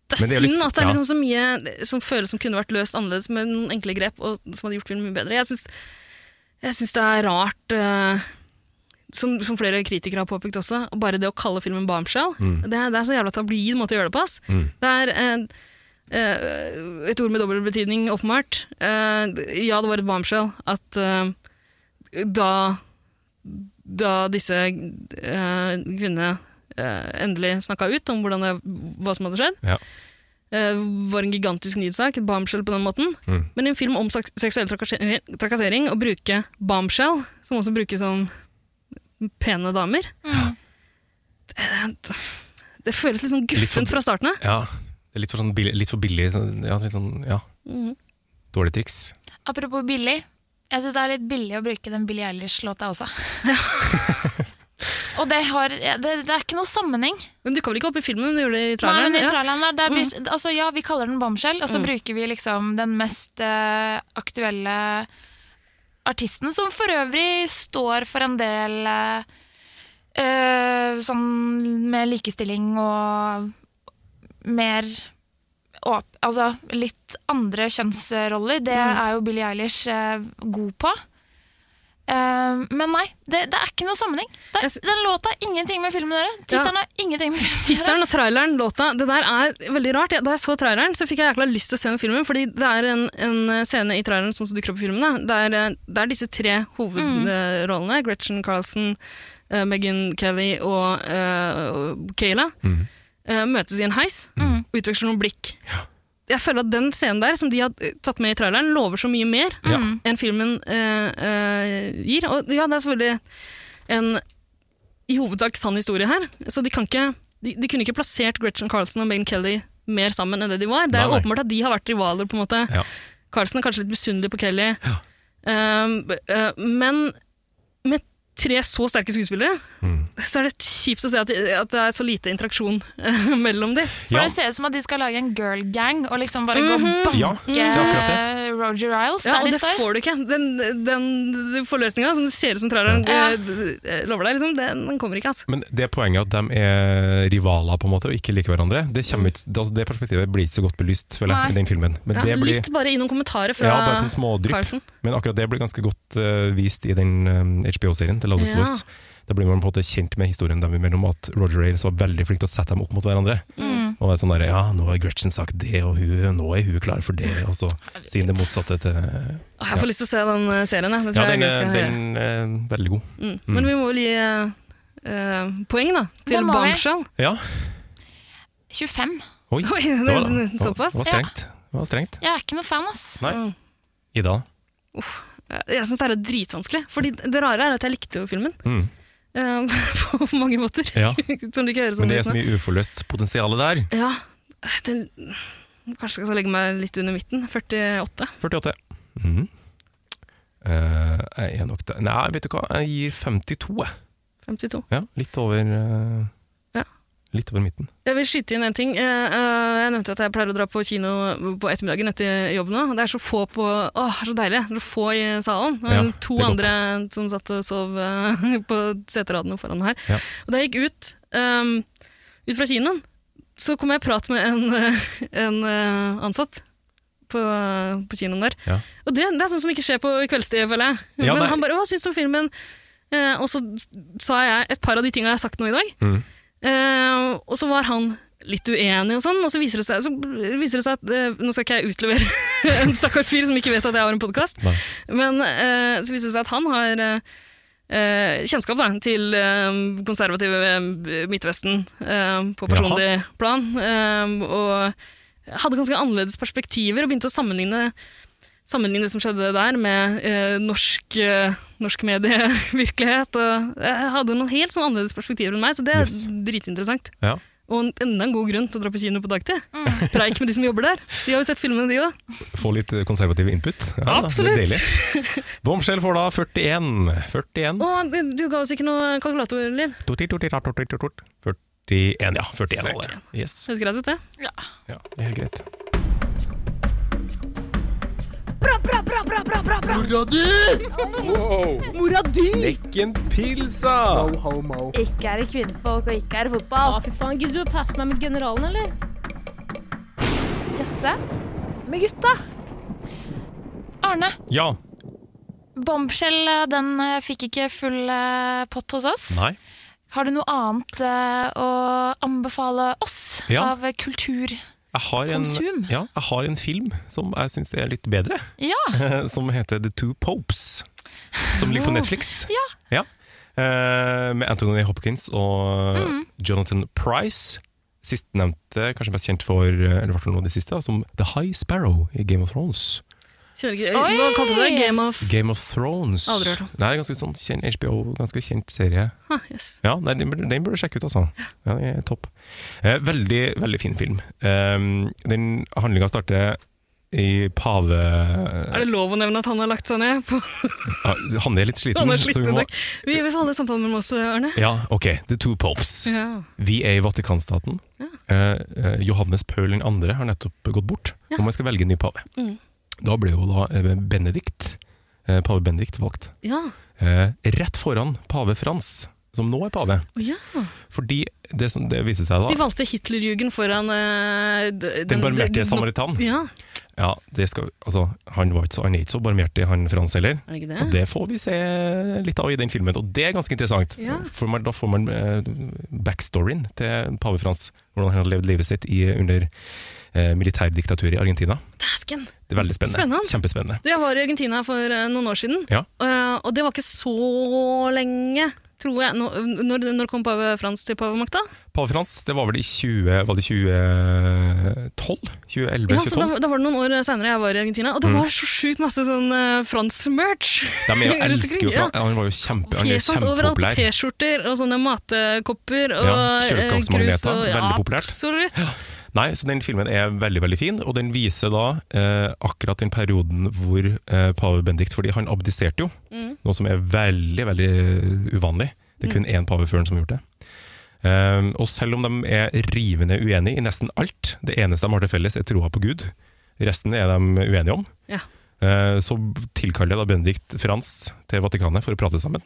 Mm. Men det er litt-
synd at det
ja.
er liksom så mye som føles som kunne vært løst annerledes med noen enkle grep, og som hadde gjort filmen mye bedre. Jeg syns, jeg syns det er rart, eh, som, som flere kritikere har påpekt også, bare det å kalle filmen Bombshell.
Mm.
Det, er- det er så jævla tabloid måte å gjøre det på. ass.
Mm.
Det er eh, eh, et ord med dobbel betydning, åpenbart. Eh, ja, det var et bombshell at eh, da, da disse eh, kvinnene eh, endelig snakka ut om hvordan det, hva som hadde skjedd,
Ja.
eh, var en gigantisk nyhetssak, et bombshell på den måten.
Mm.
Men i en film om seks- seksuell trakassering, trakassering å bruke bombshell, som også brukes som pene damer det, det føles litt sånn
for-
guffent fra starten av.
Ja, det er litt for, sånn billig, litt for billig sånn- ja, litt sånn, ja,
Mhm.
dårlig triks.
Apropos billig. Jeg syns det er litt billig å bruke den Billie Eilish-låta også. og det, har, det, det er ikke noe sammenheng.
Hun dukka vel ikke opp i filmen, hun gjorde det i
Nei,
traileren.
men i
ja. Mm.
traileren der, der blir, altså, Ja, vi kaller den bombshell, og så bruker vi liksom den mest eh, aktuelle artisten, som for øvrig står for en del eh, eh, sånn med likestilling og mer åp Altså litt andre kjønnsroller. Det
Mm.
er jo Billie Eilish eh, god på. Eh, men nei, det, det er ikke noe sammenheng. Det,
Jeg s-
den låta har ingenting med filmen å gjøre.
Ja.
Tittelen har ingenting med filmen å gjøre.
Tittelen og traileren, låta, det der er veldig rart. Jeg- Da jeg så traileren, så fikk jeg jækla lyst til å se den filmen, fordi det er en, en scene i traileren som også dukker opp i filmen, da. Det er, eh, det er disse tre hovedrollene, Gretchen Carlson, eh, Megyn Kelly og eh, Kayla,
Mhm.
eh, møtes i en heis,
Mhm.
utveksler noen blikk. Jeg føler at den scenen der, som de har eh, tatt med i traileren, lover så mye mer
Ja.
enn filmen eh, eh, gir. Og ja, det er selvfølgelig en i hovedsak sann historie her, så de, kan ikke, de, de kunne ikke plassert Gretchen Carlsen og Megyn Kelly mer sammen enn det de var. Det er
Nei, nei.
åpenbart at de har vært rivaler, på en måte.
Ja.
Ehm, Carlsen er kanskje litt misunnelig på Kelly.
Ja.
Um, eh, men med tre så sterke skuespillere,
Mm.
så er det kjipt å se at, at det er så lite interaksjon eh, mellom dem.
For det ser ut som at de skal lage en girl gang og liksom bare
Mhm.
gå og
Ja,
banke
det er akkurat
Roger Riles
Ja,
der
og
de
det
står.
får du ikke. Den, den forløsninga som det ser ut som traileren
Ja.
eh, lover deg, liksom, den, den kommer ikke. Altså.
Men det poenget at de er rivaler på en måte og ikke liker hverandre, det, kommer ikke, altså, det perspektivet blir ikke så godt belyst føler
Mm. Nei.
jeg, i den filmen. Men
Ja,
det blir,
Litt bare i noen kommentarer fra
ja, bare sånn smådrypp.
Carlsen.
Men akkurat det blir ganske godt eh, vist i den eh, HBO-serien, The Loudest
Ja.
Voice. Da blir man på en måte kjent med historien dem imellom, at Roger Ailes var veldig flink til å sette dem opp mot hverandre.
Mm.
Og være sånn der, ja, nå har Gretchen sagt det, og hun, nå er hun klar for det, og så sier han det motsatte til
Å, Jeg får lyst til å se den eh, serien, jeg.
Ja,
Det tror jeg
den
jeg
er,
skal gjøre.
den er veldig god.
Mm.
Mm.
Men vi må vel gi eh, eh, poeng, da,
Det
til
må vi.
Bombshell.
Ja,
25.
oi,
Oi,
det var,
den- den-
det var,
såpass,
det var
ja.
strengt. Det var strengt.
Jeg er ikke noe fan, ass.
Nei,
Mm.
Ida.
Jeg syns det er dritvanskelig. Fordi det rare er at jeg likte jo filmen.
Mm.
eh, på mange måter.
Ja.
som du ikke hører sånn
Men det er
ut
så
nå.
mye uforløst potensial der.
Ja, Eh, den, kanskje jeg skal legge meg litt under midten. 48.
48. Mm. Eh, jeg er nok der. Nei, vet du hva, jeg gir 52. jeg.
52.
Ja, litt over eh,
Ja.
Litt over midten.
Jeg vil skyte inn en ting. Eh, eh, Jeg nevnte at jeg pleier å dra på kino på ettermiddagen etter jobb nå. Det er så få på Åh, så deilig! Det er så få i salen. Det var
Ja,
to
det er godt.
andre som satt og sov eh, på seteradene foran meg her.
Ja.
Og da jeg gikk ut, ehm, ut fra kinoen, så kom jeg i prat med en, eh, en eh, ansatt på, på kinoen der.
Ja.
Og det, det er sånt som ikke skjer på kveldstid, føler jeg.
Ja,
Men
det er-
han bare 'Å, syns du om filmen?' Eh, og så sa jeg et par av de tinga jeg har sagt nå i dag.
Mm.
Eh, og så var han litt uenig og sånn, og så viser det seg, så viser det seg at eh, Nå skal ikke jeg utlevere en stakkar fyr som ikke vet at jeg har en podkast,
Nei.
men eh, så viser det seg at han har eh, eh, kjennskap da, til eh, konservative eh, Midtvesten eh, på personlig plan, eh, og hadde ganske annerledes perspektiver og begynte å sammenligne sammenligne det som skjedde der med eh, norsk, eh, norsk medievirkelighet. Og jeg hadde noen helt sånn annerledes perspektiver enn meg, så det er
Yes.
dritinteressant.
Ja.
Og en- enda en god grunn til å dra på kino på dagtid. Preik med de som jobber der. De har jo sett filmene, de òg.
Få litt konservativ input. Ja, da,
Absolutt.
Det er deilig. Bomskjell får da 41. 41.
Og du- du ga oss ikke noe kalkulatorlyd.
Torti, torti, tart, torti, tort, tort. 41, ja. 41 var det. Yes.
Høres greit ut, det.
Ja, det er greit.
Mora di!
Lekken pilsa!
Ikke er det kvinnfolk, og ikke er det fotball. Å, fy faen. Gidder du å passe meg med generalen, eller?
Jasse med gutta. Arne,
Ja.
Bombshell eh, den eh, fikk ikke full eh, pott hos oss.
Nei.
Har du noe annet eh, å anbefale oss
Ja.
av eh, kultur?
Jeg har en,
Konsum.
ja, jeg har en film som jeg syns er litt bedre. eh,
Ja,
som heter The Two Popes, som ligger på Netflix.
Ja.
Eh, med Anthony Hopkins og eh,
Mm.
Jonathan Price. Sistnevnte kanskje mest kjent for eh, eller i hvert fall noe av det siste, da, som The High Sparrow i Game of Thrones.
Kjenner ikke
Oi!
Hva kalte du det? Game of
Game of Thrones
Aldri hørt om.
Nei, ganske sånn kjent HBO, ganske kjent serie.
ha, Ah, yes.
Ja, nei, den, burde, den burde du sjekke ut, altså. Ja, den er topp. Eh, veldig, veldig fin film. Um, den handlinga starter i pave...
Er det lov å nevne at han har lagt seg ned? På,
Ja, han er litt sliten.
han er
så vi
sliten i
må-
dag. Vi vil få holde samtalen mellom oss, Arne.
Ja, ok. The Two Popes.
Ja.
Vi er i Vatikanstaten. Eh, eh, Johannes Paul 2. har nettopp gått bort, og man skal velge en ny pave.
Mm.
Da ble jo da eh, Benedikt, eh, pave Benedikt valgt.
Ja.
Eh, rett foran pave Frans, som nå er pave.
Å, ja.
Fordi det, som det viser seg
De
da
valgte Hitlerjugend foran eh, d-
Den barmhjertige
den-
samaritan.
Ja,
Ja, det skal, altså, han, var ikke så, han er ikke så barmhjertig, han Frans heller.
er det ikke
Og
det?
det får vi se litt av i den filmen, og det er ganske interessant.
Ja.
For man, da får man eh, backstoryen til pave Frans, hvordan han har levd livet sitt i, under eh, militærdiktaturet i Argentina.
Dæsken!
Det er veldig spennende.
Spennende.
Kjempespennende.
Du, jeg var i Argentina for eh, noen år siden,
Ja.
eh, og det var ikke så lenge, tror jeg. Nå- Når, når kom pave Frans til pavemakta?
Pave Frans, det var vel i 20, var det 2012? 2011,
Ja, så
2012?
da, da var det noen år senere jeg var i Argentina,
Mm.
og det var så sjukt masse sånn eh, Frans-merch.
De er jo,
Rundt
elsker jo
omkring,
Frans. Han var jo kjempe, han er
Fjes hans overalt, på
kjempepopulær.
T-skjorter og sånne matekopper og
Ja,
eh,
kjøleskapsmagneter,
krus og-
veldig populært.
Absolutt.
Nei, så den filmen er veldig, veldig fin, og den viser da eh, akkurat den perioden hvor eh, pave Benedikt Fordi han abdiserte jo,
Mm.
noe som er veldig, veldig eh, uvanlig. Det er kun
Mm.
én pave før han som har gjort det. Ehm, og selv om de er rivende uenige i nesten alt, det eneste de har til felles er troa på Gud, resten er de uenige om,
Ja.
Eh, så tilkaller da Benedikt Frans til Vatikanet for å prate sammen.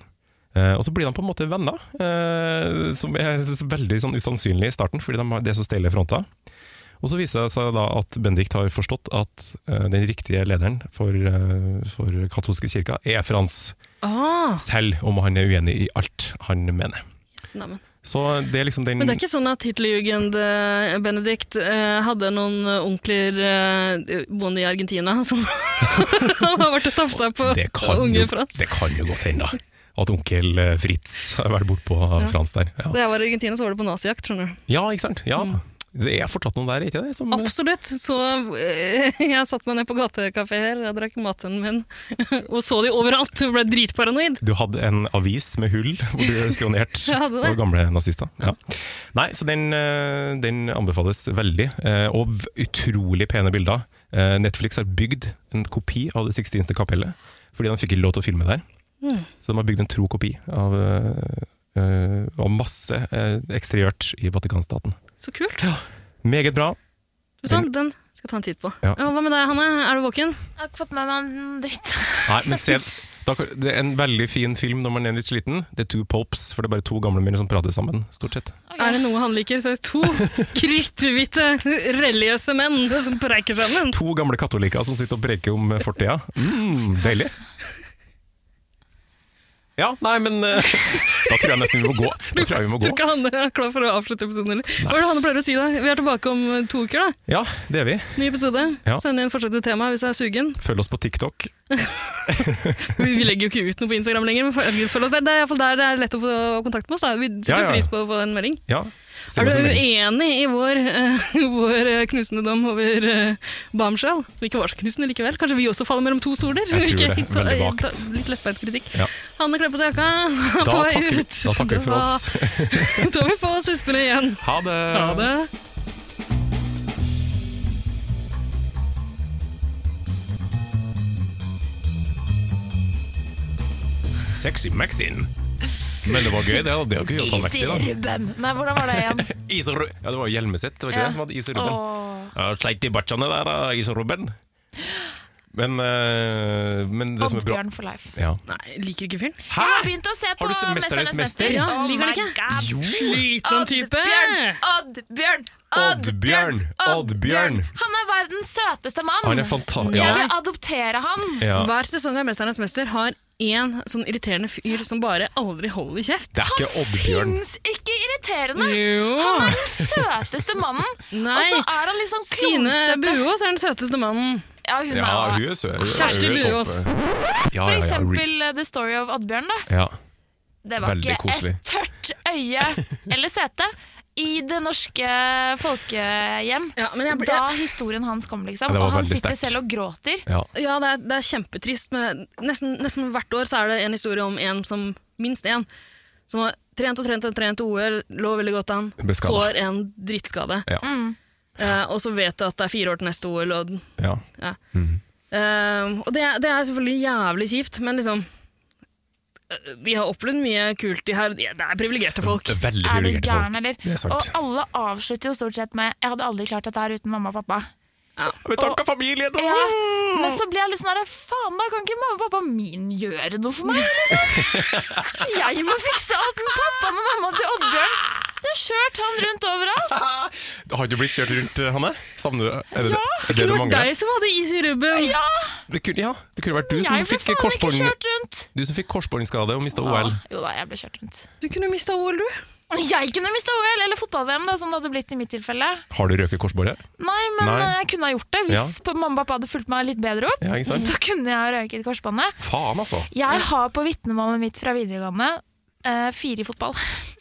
Eh, og så blir de på en måte venner, eh, som er veldig sånn usannsynlig i starten, fordi de har, det er så steile fronter. Og så viser det seg da at Benedikt har forstått at eh, den riktige lederen for, eh, for katolske kirka er Frans,
Ah,
selv om han er uenig i alt han mener.
jøss, neimen.
Så det er liksom den
Men det er ikke sånn at Hitlerjugend eh, Benedikt eh, hadde noen onkler eh, boende i Argentina som har vært og tafsa på
Det kan
unge
jo,
Frans?
Det kan jo godt hende, da. At onkel eh, Fritz har vært bortpå
Ja.
Frans der. Ja.
Da jeg var i Argentina, så var det på nazijakt, skjønner du.
ja, ikke sant? Ja. Det er fortsatt noen der, ikke det? Som,
Absolutt. Så eh, jeg satte meg ned på gatekafé her, jeg drakk maten min, og så de overalt. Jeg ble dritparanoid.
Du hadde en avis med hull hvor du spionerte
Jeg hadde det.
på gamle nazister. Ja. Nei, så den, eh, den anbefales veldig, eh, og v- utrolig pene bilder. Eh, Netflix har bygd en kopi av Det sixtinste kapellet, fordi de fikk ikke lov til å filme der.
Mm.
Så de har bygd en tro kopi av, eh, eh, av masse eh, eksteriørt i Vatikanstaten.
Så kult.
Meget bra.
Du vet hva, Den skal jeg ta en titt på.
Ja.
Ja, Hva med deg, Hanne? Er du våken?
Jeg har ikke fått med meg en dritt.
Nei, men se, da, det er en veldig fin film når man er litt sliten. Det er Two Popes, for det er bare to gamle menn som prater sammen, stort sett.
Er det noe han liker, så er det to kritthvite, religiøse menn som preiker sammen.
To gamle katolikker som sitter og preker om eh, fortida. Mm, deilig. Ja, nei, men eh, da tror jeg nesten vi må gå. Da tror jeg vi må gå.
Tror ikke Hanne er klar for å avslutte episoden. eller? Hva er det Hanne pleier å si da? Vi er tilbake om eh, to uker. da.
Ja, det er vi.
Ny episode.
Ja.
Send inn forslag til tema hvis jeg er sugen.
Følg oss på TikTok.
Vi, vi legger jo ikke ut noe på Instagram lenger, men følg- følg oss der. Det er iallfall der det er lett å få kontakt med oss. Da. Vi setter
Ja, ja.
jo pris på å få en melding.
Ja, send
Er
oss
du
en melding.
uenig i vår, eh, vår eh, knusende dom over uh, Bamshell? Som ikke var så knusende likevel. Kanskje vi også faller mellom to soler?
Jeg tror det.
Ikke ta-
Veldig
ta-
vagt.
Litt lettbeint kritikk.
Ja.
Hanne kler på seg jakka, er
Da
på vei
takker, vi-
ut.
da takker vi for
Da-
oss.
Da tar vi på oss huspene igjen.
Ha det!
Ha det.
Sexy Maxin. Men det var gøy, det. Det er jo gøy å ta Maxi, da.
Rubben. Nei, hvordan var det igjen?
Is og ru- ja, det var jo Hjelmeset, det var ikke
Ja.
det som hadde is og rubben.
Åh.
Ja, Sleik de bacene der, da, is og rubben. Men, eh, men det som er bra
Oddbjørn for life.
ja.
Nei, liker ikke fyren.
Hæ?!
Jeg har begynt å se på
du sett Mesternes
Mesternes
Mester?
mester.
Ja,
Oh
liker han
my
ikke?
God.
Jo!
Slitsom Sånn type!
Oddbjørn! Oddbjørn!
Oddbjørn! Oddbjørn!
Han er verdens søteste mann!
Han er fanta...
Jeg
Ja.
vil adoptere han!
ja.
Hver sesong av Mesternes mester har én sånn irriterende fyr som bare aldri holder kjeft.
Det er ikke Oddbjørn.
Fins ikke irriterende!
Jo.
Han er den søteste mannen!
Nei.
Og så er han liksom
Stine
klumsete.
Buås er den søteste mannen.
Ja, hun
Ja,
er
hun er søt. Hun er
Kjersti
jo topp.
Buås.
Ja,
For
ja, ja, re-
eksempel eh, The Story of Oddbjørn, da.
ja.
Det var
Veldig
ikke
koselig.
et tørt øye eller sete i det norske folkehjem.
Ja, men jeg,
Da historien hans kom, liksom.
Ja, det var
og han
veldig
sitter
sterkt.
selv og gråter.
ja.
ja, det, er, det er kjempetrist. Men nesten, nesten hvert år så er det en historie om en som minst en, som har trent og trent og trent OL, lå veldig godt an,
Ble skadet.
får en drittskade.
Ja.
Mm.
Eh, og så vet du at det er fire år til neste OL, og
ja.
Ja. Eh, og det, det er selvfølgelig jævlig kjipt, men liksom eh, De har opplevd mye kult, de her. De- Det er privilegerte folk.
Det er Veldig
Er du
privilegerte
gæren,
folk.
eller?
Det er sant.
Og alle avslutter jo stort sett med 'jeg hadde aldri klart dette her uten mamma og pappa'.
Men takk av familien! da.
Ja. Men så blir jeg litt sånn her, faen da, kan ikke mamma og pappa min gjøre noe for meg? Liksom? Jeg må fikse alt med pappaen og mamma til Oddbjørn. Det har kjørt han rundt overalt.
Har du blitt kjørt rundt, eh, Hanne? Savner du er det,
Ja,
er
Det
det du
var
mangler?
deg som hadde is i rubben!
Ja,
Det kunne, ja, det kunne vært du som
jeg ble
fikk
faen ikke
korsbånd
kjørt rundt.
Du som fikk korsbåndskade og mista OL.
Ja, Jo da, jeg ble kjørt rundt.
Du kunne mista OL, du.
Jeg kunne mista OL, eller fotball-VM, da, som det hadde blitt i mitt tilfelle.
Har du røket korsbåndet?
Nei, men
Nei.
eh, jeg kunne ha gjort det hvis på- mamma og pappa hadde fulgt meg litt bedre opp.
Ja, ikke sant?
så kunne jeg ha røket korsbåndet.
Faen, altså!
Jeg har på vitnemålet mitt fra videregående eh, fire i fotball.